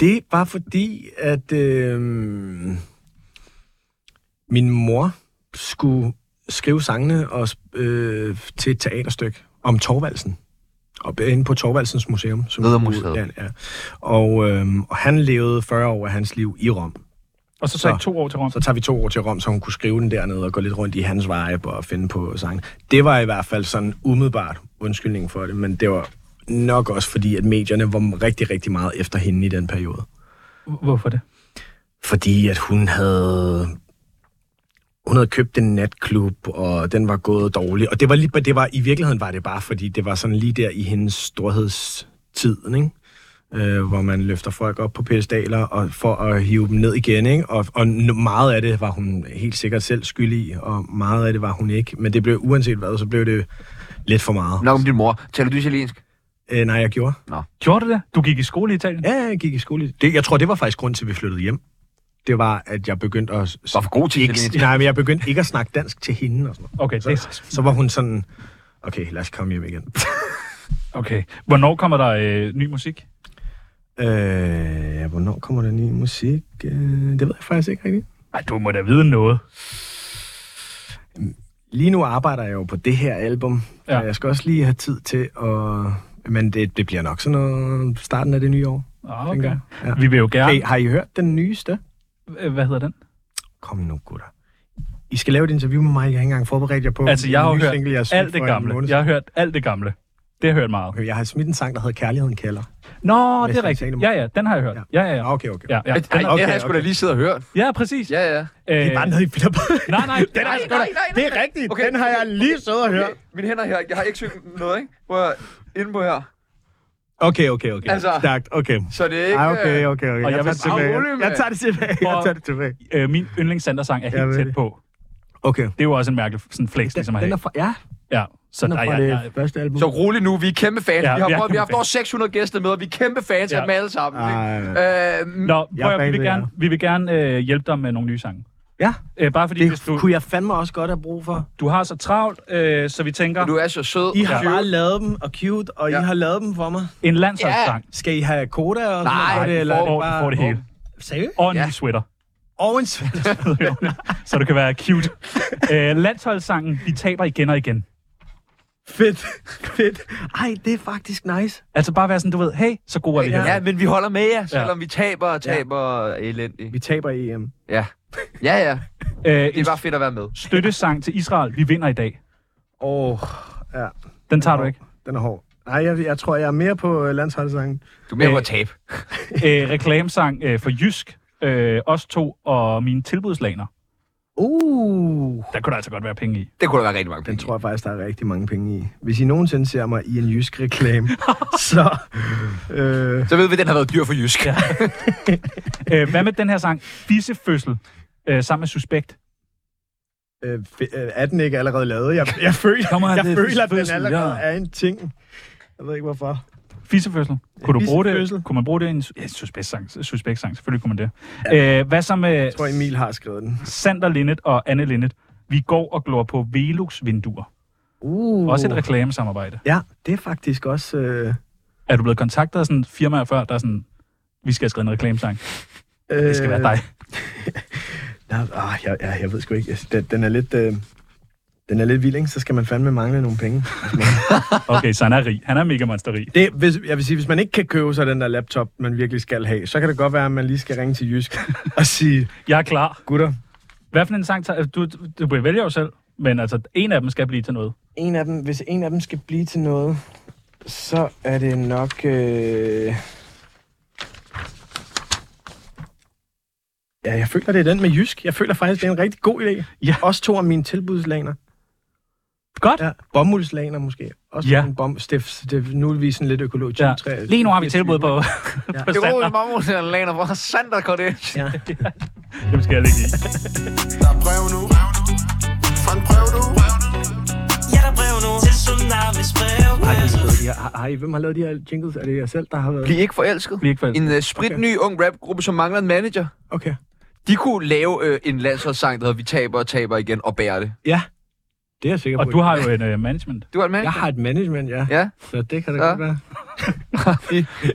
S3: Det var fordi, at øh, min mor skulle skrive sangene og, øh, til et teaterstykke om Torvaldsen. Og inde på Torvaldsens Museum. Som
S1: Riddermuseet.
S3: Ja, ja. Og, øh, og han levede 40 år af hans liv i Rom.
S4: Og så tager
S3: Så-
S4: jeg to år til Rom.
S3: Så tager vi to år til Rom, så hun kunne skrive den dernede og gå lidt rundt i hans vibe og finde på sangen. Det var i hvert fald sådan umiddelbart undskyldningen for det, men det var nok også fordi, at medierne var rigtig, rigtig meget efter hende i den periode
S4: Hvorfor det?
S3: fordi at hun havde hun havde købt en natklub, og den var gået dårlig. Og det var, lige, det var i virkeligheden var det bare, fordi det var sådan lige der i hendes storhedstid, ikke? Øh, hvor man løfter folk op på pedestaler og for at hive dem ned igen. Ikke? Og, og n- meget af det var hun helt sikkert selv skyldig i, og meget af det var hun ikke. Men det blev uanset hvad, så blev det lidt for meget.
S1: Nok om din mor. Taler du italiensk?
S3: Øh, nej, jeg gjorde.
S4: Gjorde du det? Du gik i skole i Italien?
S3: Ja, jeg gik i skole. Det, jeg tror, det var faktisk grund til, at vi flyttede hjem. Det var, at jeg begyndte at...
S1: Var for god til italiensk.
S3: Ikke, nej, men jeg begyndte ikke at snakke dansk til hende og sådan noget.
S4: Okay, det,
S3: Så var hun sådan, okay, lad os komme hjem igen.
S4: okay. Hvornår kommer der øh, ny musik?
S3: Øh, hvornår kommer der ny musik? Øh, det ved jeg faktisk ikke rigtigt.
S4: Ej, du må da vide noget.
S3: Lige nu arbejder jeg jo på det her album.
S4: Ja.
S3: Ja. Jeg skal også lige have tid til at... Men det, det bliver nok sådan noget starten af det nye år.
S4: Ah,
S3: tænker
S4: okay.
S3: jeg. Ja.
S4: Vi vil jo gerne...
S3: Hey, har I hørt den nyeste?
S4: Øh, Hvad hedder den?
S3: Kom nu, gutter. I skal lave et interview med mig. Jeg har ikke engang forberedt jer på
S4: Altså,
S3: en
S4: jeg har jo
S3: ny
S4: hørt
S3: single, jeg har smidt
S4: alt
S3: for
S4: det
S3: en
S4: gamle.
S3: måned
S4: Jeg har hørt alt det gamle. Det har jeg hørt meget.
S3: siden. Jeg har smidt en sang, der hedder Kærligheden kalder.
S4: Nå, det er
S3: Christian
S4: rigtigt. Ja,
S3: Telemann.
S4: ja, den har jeg hørt. Ja, ja, ja.
S3: Okay, okay.
S4: Ja, ja.
S1: Ej,
S4: Den er-
S1: det har jeg sgu da
S3: okay.
S1: lige siddet og hørt.
S4: ja præcis.
S1: Ja, ja.
S4: Øh,
S3: Det er bare nede i Peter
S4: nej, nej,
S3: Den har jeg sgu da- Det er rigtigt.
S1: Okay.
S3: Den har jeg lige siddet og hørt.
S1: Okay, mine hænder her. Jeg har ikke søgt noget, ikke? Prøv at inde på her.
S3: Okay, okay, okay.
S1: Altså-
S3: Stærkt, okay.
S1: Så det er ikke...
S3: Ej, okay,
S1: øh,
S3: okay, okay.
S4: Og jeg
S3: Jeg,
S4: vil
S3: tager det
S1: bare
S3: tilbage.
S1: rolig, mand.
S3: Jeg tager det tilbage. Jeg
S4: Og-
S3: tager det tilbage.
S4: øh, min yndlingssandersang er
S3: Jeg ved
S4: helt tæt
S3: det.
S4: på.
S3: Okay.
S4: Det er jo også en mærkelig sådan flex, ligesom at
S3: Den
S4: have.
S3: er fra, ja,
S4: Ja, så
S3: den
S4: der,
S3: er fra
S4: jeg, jeg,
S3: det første album.
S1: Så rolig nu, vi er kæmpe fans. Ja,
S4: Ja,
S1: vi, har,
S4: vi er
S1: prøvet, vi har
S4: kæmpe
S1: haft over 600 gæster med, og vi er kæmpe fans
S4: Ja.
S1: ja. af dem alle sammen.
S3: Ej,
S1: ikke? Øhm,
S4: Nå, prøv, at- vi
S3: fan
S4: vil
S3: af jer.
S4: gerne, vi vil gerne øh, hjælpe dig med nogle nye sange.
S3: Ja,
S4: Øh, bare fordi, hvis
S3: det
S4: du,
S3: kunne jeg fandme også godt have brug for.
S4: du har så travlt, øh, så vi tænker,
S1: og du er så sød.
S3: I har
S1: Ja.
S3: bare lavet dem og cute, og I
S1: Ja.
S3: har lavet dem for mig.
S4: en landsholdssang.
S3: Skal I have koda og sådan
S1: Nej,
S3: noget?
S1: du
S3: eller er
S1: får-
S4: Ja, og du får det hele.
S3: Seriøst?
S4: Og en
S1: Ja.
S4: ny sweater.
S3: Og en svensk.
S4: så du kan være cute. Øh, landsholdssangen, vi taber igen og igen.
S3: Fedt, fedt. Ej, det er faktisk nice.
S4: Altså bare være sådan, du ved, hey, så gode er vi her.
S1: Ja, men vi holder med jer, selvom vi taber og taber ja. elendigt.
S3: Vi taber E EM.
S1: Ja. Ja, ja.
S4: Øh,
S1: Det er
S4: en
S1: bare fedt at være med.
S4: støttesang til Israel, vi vinder i dag.
S3: Åh, oh, ja.
S4: Den tager du ikke.
S3: Den er hård. Nej, jeg, jeg tror, jeg er mere på øh, landsholdssangen.
S1: Du er med
S4: Øh,
S1: på at tabe.
S4: Øh, reklamesang øh, for Jysk, øh, os to og mine tilbudslaner.
S3: Uh,
S4: Der kunne der altså godt være penge i.
S1: Det kunne der være rigtig mange
S3: den
S1: penge. i.
S3: tror jeg faktisk, der er rigtig mange penge i. Hvis I nogensinde ser mig i en jysk reklame, så... Øh,
S1: Så ved vi, at den har været dyr for Jysk. Ja.
S4: Øh, hvad med den her sang, Fissefødsel, øh, sammen med Suspekt?
S3: øh, fe- øh, er den ikke allerede lavet? Jeg, jeg føler,
S4: Kommer
S3: jeg
S4: det
S3: føler at den
S4: fødsel,
S3: allerede
S4: ja.
S3: er en ting. Jeg ved ikke, hvorfor.
S4: Fisefødsel. Kunne du bruge
S3: Fissefødsel.
S4: det? Kunne man bruge det i en su- ja, suspektsang? Suspektsang, selvfølgelig kunne man det. Ja. Øh, hvad så med
S3: Jeg tror, Emil har skrevet den.
S4: Sander Linnet og Anne Linnet? Vi går og glor på Velux-vinduer.
S3: Uh.
S4: Også et reklamesamarbejde.
S3: Ja, det er faktisk også... Øh,
S4: Er du blevet kontaktet af sådan firmaer før, der er sådan, vi skal have skrevet en reklamesang. Det skal
S3: øh,
S4: være dig.
S3: Ja, ah, jeg, jeg, jeg ved sgu ikke. Altså, Den, den er lidt... Øh, den er lidt vild, ikke? Så skal man fandme mangle nogle penge.
S4: Okay, så han er rig. Han er mega monsterrig.
S3: Det, hvis, jeg vil sige, hvis man ikke kan købe sig den der laptop, man virkelig skal have, så kan det godt være, at man lige skal ringe til Jysk og sige,
S4: Jeg er klar.
S3: gutter,
S4: Hvad for en sang tager... Du, du, du vælger jo selv, men altså, en af dem skal blive til noget.
S3: en af dem, hvis en af dem skal blive til noget, så er det nok... Øh... Ja, jeg føler, det er den med Jysk. Jeg føler faktisk, det er en rigtig god idé.
S4: Ja.
S3: Også to af mine tilbudslaner.
S4: Godt.
S3: Ja, bomuldslaner måske. Også
S4: Ja.
S3: ja. en bom... Stif, stif, nu er vi sådan lidt økologisk.
S4: Ja.
S3: Træ-
S4: Lige nu har vi tilbud på, ja. på Sander.
S1: mamma, Lena, hvor sandt går det?
S3: Ja.
S4: Dem skal jeg lægge i.
S7: Der er brev nu. Fra en brev nu.
S6: Ja, der er brev nu til Tsunamis brevkasse.
S3: Ja, har, har I, hvem har lavet de her jingles? Er det jer selv, der har været?
S1: Bliv ikke forelsket.
S4: Bliv ikke forelsket.
S1: En uh, spritny ung rapgruppe, som mangler en manager.
S3: Okay.
S1: De kunne lave øh, en landsholdssang, der hedder Vi taber og taber igen og bærer det.
S3: Ja, det er jeg sikker
S4: Og
S3: på.
S4: du har jo en uh, management.
S1: Du er en manager?
S3: Jeg har et management, ja.
S1: Ja.
S3: Så det kan da
S1: Ja.
S3: godt være.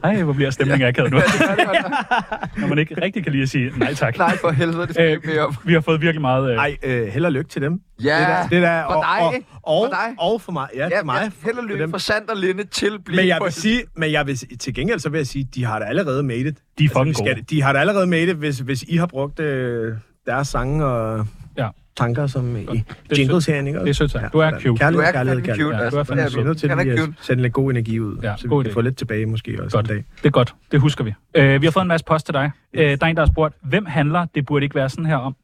S4: Ej, hvor bliver stemningen akavet nu. Når man ikke rigtig kan lige at sige nej tak. Øh,
S1: Nej, for helvede, det skal
S3: Øh,
S1: jeg ikke mere om.
S4: Vi har fået virkelig meget... Øh,
S3: Ej, øh, held og lykke til dem.
S1: Ja,
S3: det der, det der,
S1: for
S3: og,
S1: dig,
S3: og,
S1: ikke?
S3: og,
S1: For dig.
S3: Og for mig. Ja,
S1: ja,
S3: for mig.
S1: Ja, held og
S3: For
S1: lykke
S3: dem.
S1: for Sander Linde til Bliv
S3: Men jeg vil
S1: forelsket.
S3: sige, men jeg vil, s- til gengæld så vil jeg sige, de har da allerede made it. Altså,
S4: de er fucking
S3: vi
S4: gode.
S3: de har da allerede made it, hvis, hvis I har brugt øh, deres sange og
S4: Ja.
S3: tanker som i
S4: er
S3: jingles herinde, ikke?
S4: Det er sødt sagt. Du er
S3: sådan.
S4: cute.
S1: du
S3: Kærlighed,
S1: er
S3: kærlighed,
S1: kærlighed, cute.
S3: kærlighed.
S4: Ja,
S1: altså.
S4: du er fandme
S1: Det
S3: Vi er nødt til
S1: Han er
S3: lige
S1: cute.
S3: at sende lidt god energi ud,
S4: Ja,
S3: så
S4: god
S3: vi kan
S4: idé.
S3: få lidt tilbage måske også
S4: Godt.
S3: en dag.
S4: Det er godt. Det husker vi. Øh, vi har fået en masse post til dig. Øh, der er en, der har spurgt, hvem handler? Det burde ikke være sådan her om.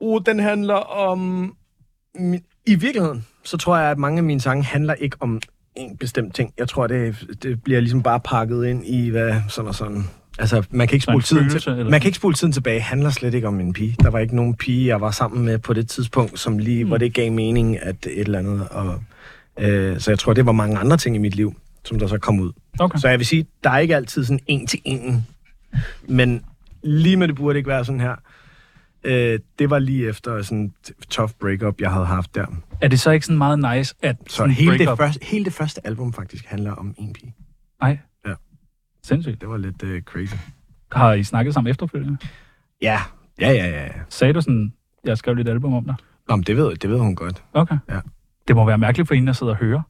S3: Uh, den handler om... min- I virkeligheden, så tror jeg, at mange af mine sange handler ikke om en bestemt ting. Jeg tror, det, det bliver ligesom bare pakket ind i, hvad sådan og sådan. Altså, man kan ikke
S4: Så en
S3: spole, tiden,
S4: følelse,
S3: til,
S4: eller
S3: man kan ikke spole tiden tilbage. handler slet ikke om en pige. Der var ikke nogen pige, jeg var sammen med på det tidspunkt, som lige,
S4: Hmm.
S3: mm. hvor det gav mening, at et eller andet. Og, øh, så jeg tror, det var mange andre ting i mit liv, som der så kom ud.
S4: Okay.
S3: Så jeg vil sige, der er ikke altid sådan en til en. Men lige med det burde ikke være sådan her. Øh, det var lige efter sådan et tough breakup, jeg havde haft der.
S4: Er det så ikke sådan meget nice, at
S3: Så
S4: sådan
S3: hele det,
S4: breakup-
S3: første, hele det første album faktisk handler om en pige.
S4: Nej.
S3: Ja.
S4: Sindssygt.
S3: Det var lidt øh, crazy.
S4: Har I snakket sammen efterfølgende?
S3: Ja, ja, ja, ja. ja.
S4: Sagde du sådan, jeg skrev lidt album om dig?
S3: Nå, men det ved, det ved hun godt.
S4: Okay.
S3: Ja.
S4: Det må være mærkeligt for en, der sidder og hører.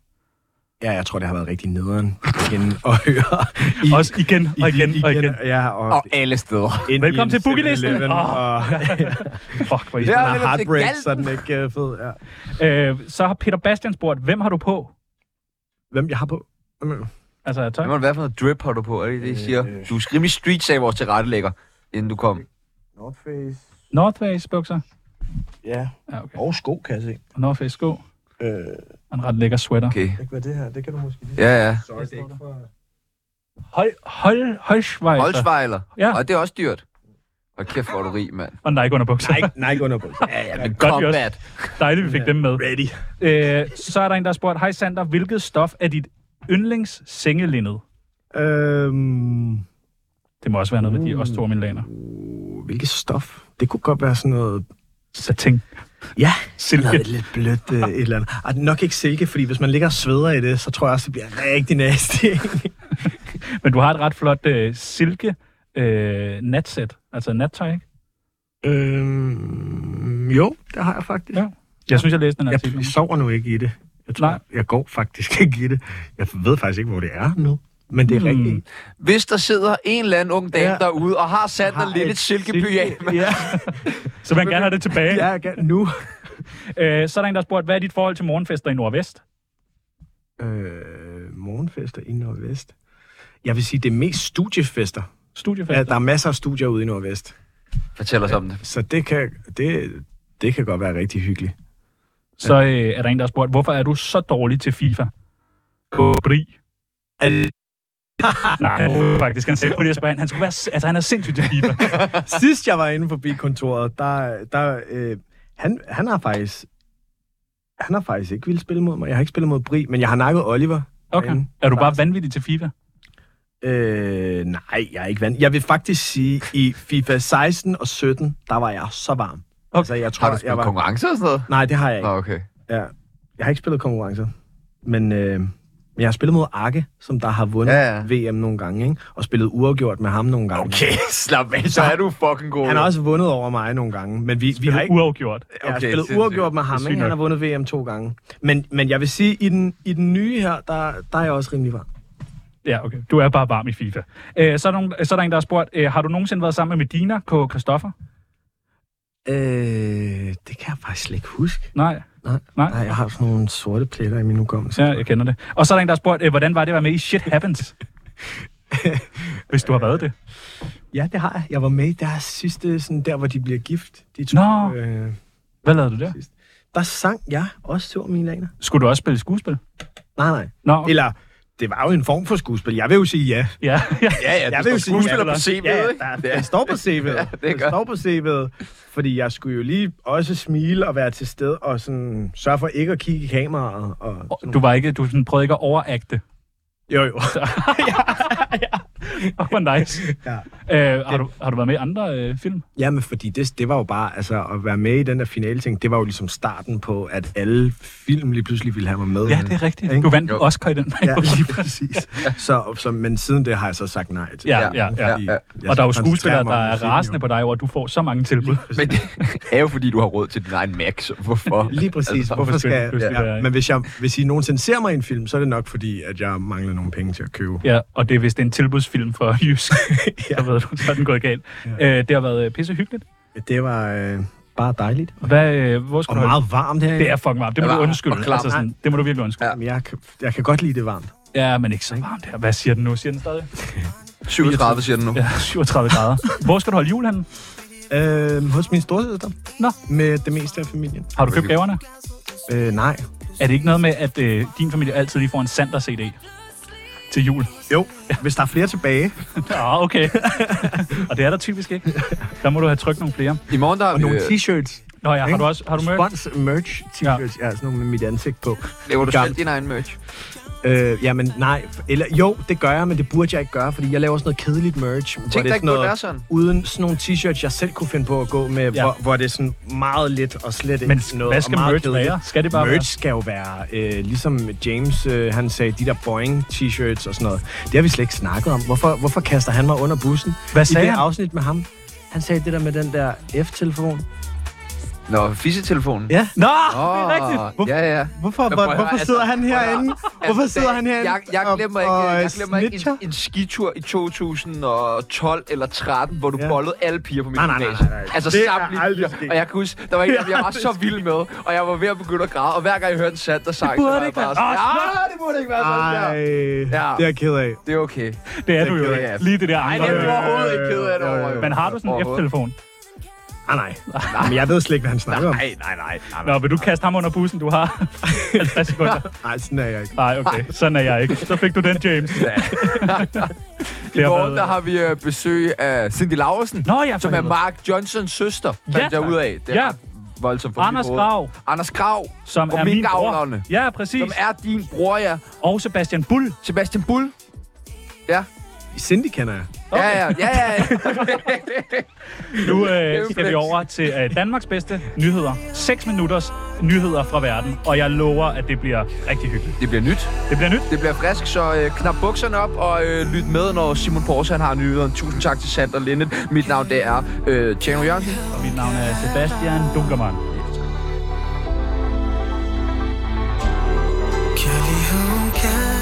S3: Ja, jeg tror, det har været rigtig nederen for hende at høre. I,
S4: Også igen og igen og igen.
S3: Ja, og,
S1: Og alle steder.
S3: ind i
S4: Velkommen
S3: en
S4: til boogielisten.
S3: 7-Eleven,
S4: Åh.
S3: Og
S4: Fuck, hvor
S1: Ja.
S4: ja.
S3: den er
S1: til
S3: heartbreak,
S1: Galten.
S3: så den ikke er fed. Ja.
S4: øh, Så har Peter Bastian spurgt, hvem har du på?
S3: Hvem jeg har på? Hvem-
S4: Altså, er
S1: Hvad
S4: tøj?
S1: må det være for noget drip, har du på? Er det det, I
S3: Øh,
S1: siger? Du er rimelig street, sagde vores tilrettelægger, inden du kom.
S2: North Face.
S4: North Face bukser.
S2: Ja,
S4: Ja, okay.
S2: og sko, kan jeg se.
S4: Og North Face sko.
S2: Øh,
S4: Og en ret lækker sweater.
S1: Okay.
S2: ikke hvad det her, det kan du måske lige.
S1: Ja, ja.
S2: Sorry, det er ikke for...
S4: Hol, hol, Holschweizer.
S1: Holzweiler.
S4: Ja.
S1: Og det er også dyrt. Og kæft, hvor er du rig, mand.
S4: Og Nike under bukser.
S3: Nej, nej, ikke under på.
S1: Ja, ja, men
S4: Godt, vi også-
S1: combat.
S4: Dejligt, vi fik dem med.
S3: Ready.
S4: Øh, så er der en, der har spurgt, hej Sander, hvilket stof er dit yndlings sengelinnet?
S3: Øhm,
S4: Det må også være noget med
S3: Mm.
S4: de også to milaner.
S3: uh, hvilket stof? Det kunne godt være sådan noget...
S4: Satin.
S3: Ja,
S4: Silke.
S3: noget lidt blødt øh, et eller andet. Ej, nok ikke silke, fordi hvis man ligger og sveder i det, så tror jeg også, det bliver rigtig nasty.
S4: Men du har et ret flot øh, silke øh, natsæt. Altså nattøj, ikke?
S3: øhm, jo, det har jeg faktisk.
S4: Ja, Jeg synes, jeg læste den
S3: jeg
S4: artikel.
S3: sover nu ikke i det. Jeg, tror,
S4: Nej.
S3: jeg går faktisk ikke i det. Jeg ved faktisk ikke, hvor det er nu. Men det er
S4: Hmm.
S3: mm. rigtigt.
S1: Hvis der sidder en eller anden ung dame
S3: Ja.
S1: derude og har sat dig
S3: Har
S1: lidt
S3: et
S1: et silkepyjama,
S3: Ja,
S4: Så man gerne have det tilbage.
S3: ja jeg kan, nu.
S4: Øh, så er der en, der har spurgt, hvad er dit forhold til morgenfester i Nordvest?
S3: Øh, morgenfester i Nordvest. Jeg vil sige, det er mest studiefester. Ja,
S4: Studiefest?
S3: der er masser af studier ude i Nordvest.
S1: fortæl os om det.
S3: Så det kan, det, det kan godt være rigtig hyggeligt.
S4: Så øh, er der en, der har spurgt, hvorfor er du så dårlig til FIFA? Kobri. Nej, faktisk. Han sagde på det, jeg spørger han. Han, skulle være, s- altså, han er sindssygt til FIFA.
S3: Sidst jeg var inde forbi kontoret, der, der øh, han, han har faktisk han har faktisk ikke ville spille mod mig. Jeg har ikke spillet mod Bri, men jeg har nakket Oliver.
S4: Okay.
S3: derinde.
S4: Er du bare vanvittig til FIFA?
S3: Øh, nej, jeg er ikke vant. Jeg vil faktisk sige, i FIFA 16 og 17, der var jeg så varm. Okay. Altså, jeg tror,
S1: Har du
S3: jeg
S1: spillet
S3: var...
S1: konkurrencer og sådan noget?
S3: Nej, det har jeg
S1: Nå,
S3: ikke.
S1: okay.
S3: Ja. Jeg har ikke spillet konkurrencer. Men øh, men jeg har spillet mod Arke, som der har vundet
S1: Ja,
S3: ja, ja. VM nogle gange, ikke? og spillet uafgjort med ham nogle gange.
S1: Okay, slap af, så er du fucking god.
S3: Han har også vundet over mig nogle gange, men vi, vi
S4: Vi
S3: har
S4: har
S3: ikke
S4: uafgjort.
S3: jeg har
S1: Okay,
S3: spillet
S1: sindssygt.
S3: uafgjort med
S4: Det
S3: ham,
S4: er
S3: ikke?
S4: sygt
S3: han har vundet VM to gange. Men, men jeg vil sige, i den, i den nye her, der, der er jeg også rimelig varm.
S4: Ja, okay. Du er bare varm i FIFA. Øh, så, er der nogen, så er der en, der har spurgt, øh, har du nogensinde været sammen med Medina K. Christoffer?
S3: Øh, det kan jeg faktisk slet ikke huske.
S4: Nej.
S3: Nej.
S4: Nej.
S3: Nej, jeg har sådan nogle sorte pletter i min hukommelse.
S4: Ja, jeg kender det. Og så er der en, der har spurgt, øh, hvordan var det at være med i Shit Happens? Hvis du har været det.
S3: Ja, det har jeg. Jeg var med i deres sidste, sådan der, hvor de bliver gift. De to,
S4: Nå.
S3: Øh,
S4: Hvad lavede du der?
S3: der sang jeg også to af mine laner.
S4: Skulle du også spille skuespil?
S3: Nej, nej.
S4: Nå, okay.
S3: Eller, det var jo en form for skuespil. Jeg vil jo sige ja.
S4: ja, ja.
S1: Ja, ja,
S3: jeg
S1: du
S3: vil
S1: står skuespiller på
S3: ja,
S1: CV'et,
S3: ja,
S1: ikke?
S3: der,
S1: Ja.
S3: der står på CV'et.
S1: Ja,
S3: ja,
S1: det er
S3: det
S1: godt.
S3: står på CV'et. Fordi jeg skulle jo lige også smile og være til stede og sådan sørge for ikke at kigge i kameraet. Og, og
S4: Du, var ikke, du sådan prøvede ikke at overagte.
S3: Jo, jo.
S4: Åh, oh, nice.
S3: Ja.
S4: Øh, har, du, har du været med i andre øh, film?
S3: Jamen, fordi det, det var jo bare, altså at være med i den der finale ting, det var jo ligesom starten på, at alle film lige pludselig ville have mig med.
S4: Ja, det er rigtigt.
S3: Ikke?
S4: Du vandt jo. Oscar i den
S3: Ja,
S4: periode.
S3: lige præcis. så, så, men siden det har jeg så sagt nej til.
S4: Ja, ja, ja.
S3: Fordi
S1: Ja, ja.
S3: jeg
S4: Og der er jo
S3: koncentrerer
S4: skuespillere,
S3: mig
S4: der
S3: om
S4: er
S3: musikken,
S4: rasende
S3: jo.
S4: på dig over, at du får så mange tilbud.
S1: Men det er jo fordi, du har råd til din egen Max. Hvorfor?
S3: Lige præcis.
S1: Altså,
S3: Altså, hvorfor skal jeg?
S4: pludselig være,
S3: Ja,
S4: ikke?
S3: men hvis, jeg, hvis I nogensinde ser mig i en film, så er det nok fordi, at jeg mangler nogle penge til at købe.
S4: Ja, og det er vist en tilbudsfilm fra Jysk. ja. ved du, så er den gået galt. Ja. Øh, det har været øh, pissehyggeligt.
S3: Det var øh, bare dejligt.
S4: Hvad, øh, hvor
S3: Og
S4: skulle du...
S3: meget varmt her.
S4: Det er fucking varmt. Det må
S1: Ja,
S4: du
S1: og
S4: undskylde.
S1: klam.
S4: Altså sådan, det må du virkelig undskylde.
S3: Jamen, jeg, kan- jeg kan godt lide det varmt.
S4: Ja. ja, men ikke så varmt her. Hvad siger den nu? Siger den stadig?
S1: 37, siger den nu.
S4: Ja, 37 grader. Hvor skal du holde julen? henne?
S3: Øh, hos min storsøster.
S4: Nå.
S3: Med det meste af familien.
S4: Har du købt gaverne?
S3: Øh, nej.
S4: Er det ikke noget med, at øh, din familie altid lige får en Sander-CD til jul?
S3: Jo, hvis der er flere tilbage.
S4: Ja, okay. og det er der typisk ikke. Der må du have trykt nogle flere.
S1: I morgen, der
S3: Og nogle
S1: øh,
S3: t-shirts.
S4: Nå ja, har du også har du mørkt?
S3: Spons merch t-shirts. Ja. ja, sådan nogle med mit ansigt på.
S1: laver du selv
S3: Gammel.
S1: din egen merch.
S3: Øh, jamen nej, eller jo, det gør jeg, men det burde jeg ikke gøre, fordi jeg laver sådan noget kedeligt merch. hvor
S1: Tænk,
S3: det
S1: der
S3: er
S1: ikke burde være sådan.
S3: Uden sådan nogle t-shirts, jeg selv kunne finde på at gå med,
S4: Ja.
S3: ja. hvor, hvor det er sådan meget lidt og slet ikke
S4: Men
S3: noget.
S4: hvad
S3: og
S4: skal
S3: meget
S4: merch
S3: kedeligt.
S4: være? Skal det bare
S3: merch
S4: være-
S3: skal jo være, øh, ligesom James, øh, han sagde, de der Boeing t-shirts og sådan noget. Det har vi slet ikke snakket om. Hvorfor, hvorfor kaster han mig under bussen?
S4: Hvad
S3: I
S4: sagde
S3: det
S4: han?
S3: afsnit med ham. Han sagde det der med den der F-telefon.
S1: Nå, fissetelefonen.
S3: Ja.
S4: Nå,
S1: Åh,
S4: det er rigtigt.
S3: Hvor-
S1: ja, ja.
S3: Hvorfor,
S1: prøv at
S3: hvor,
S1: høre,
S3: hvorfor
S1: altså,
S3: sidder han
S1: prøv at høre. Altså,
S3: herinde? Hvorfor sidder han herinde?
S1: Jeg, jeg
S3: og-
S1: glemmer ikke,
S3: og,
S1: jeg glemmer ikke
S3: snitcher?
S1: en, en skitur i 2012 eller 13, hvor du ja.
S3: Ja.
S1: bollede alle piger på min
S3: Nej, nej, nej,
S1: gymnasie.
S3: nej, nej.
S1: Altså
S3: Det er
S1: samtlige
S3: aldrig
S1: piger.
S3: sket.
S1: Og jeg kan huske, der var en, jeg var så vild med, og jeg var ved at begynde at græde. Og hver gang jeg hørte en sand, der sang, så
S4: burde
S1: var jeg
S4: ikke
S1: bare
S4: være-
S1: sådan,
S4: Åh,
S1: ja, det burde ikke være sådan
S3: Ej,
S1: der. Ja.
S3: det er jeg ked af.
S1: Det er okay.
S4: Det er du jo
S1: ked
S4: ikke.
S1: af.
S4: Lige det der
S1: Nej,
S4: andre.
S1: det er du
S4: øre.
S1: overhovedet ikke ked af det over. jo.
S4: Men har du sådan en
S1: Overhovedet.
S4: F-telefon?
S3: Ah, nej, nej. Men jeg ved slet ikke, hvad han snakker om.
S1: Nej, nej, nej. nej, nej.
S4: Nå, vil du kaste ham under bussen, du har 50 sekunder?
S3: Nej, sådan er jeg ikke.
S4: Nej, okay. Sådan er jeg ikke. Så fik du den, James.
S1: I
S4: Det har
S1: morgen
S4: været-
S1: der har vi øh, besøg af Cindy Laursen,
S4: Nå ja, for
S1: som er
S4: helvede.
S1: Mark Johnsons søster, fandt
S4: tak.
S1: jeg ud af. Det er
S4: Ja.
S1: ret voldsomt for
S4: Anders
S1: mit hoved.
S4: Grav.
S1: Anders Grav,
S4: Som
S1: og
S4: er min bror.
S1: minkavlerne,
S4: Ja, præcis.
S1: som er din bror, ja.
S4: Og Sebastian Bull.
S1: Sebastian Bull. Ja,
S3: Cindy kender jeg.
S1: okay. ja, ja, ja, ja.
S4: Nu
S1: Kæmpe
S4: øh, skal vi
S1: flex.
S4: over til øh, Danmarks bedste nyheder. 6 minutters nyheder fra verden. Og jeg lover, at det bliver rigtig hyggeligt.
S1: Det bliver nyt.
S4: Det bliver nyt.
S1: Det bliver frisk, så øh, knap bukserne op og øh, lyt med, når Simon Porse han har nyheden. Tusind tak til Sander Lindet. Mit navn det er øh, Tjerno Jørgensen.
S4: Og mit navn er Sebastian Dunkermann.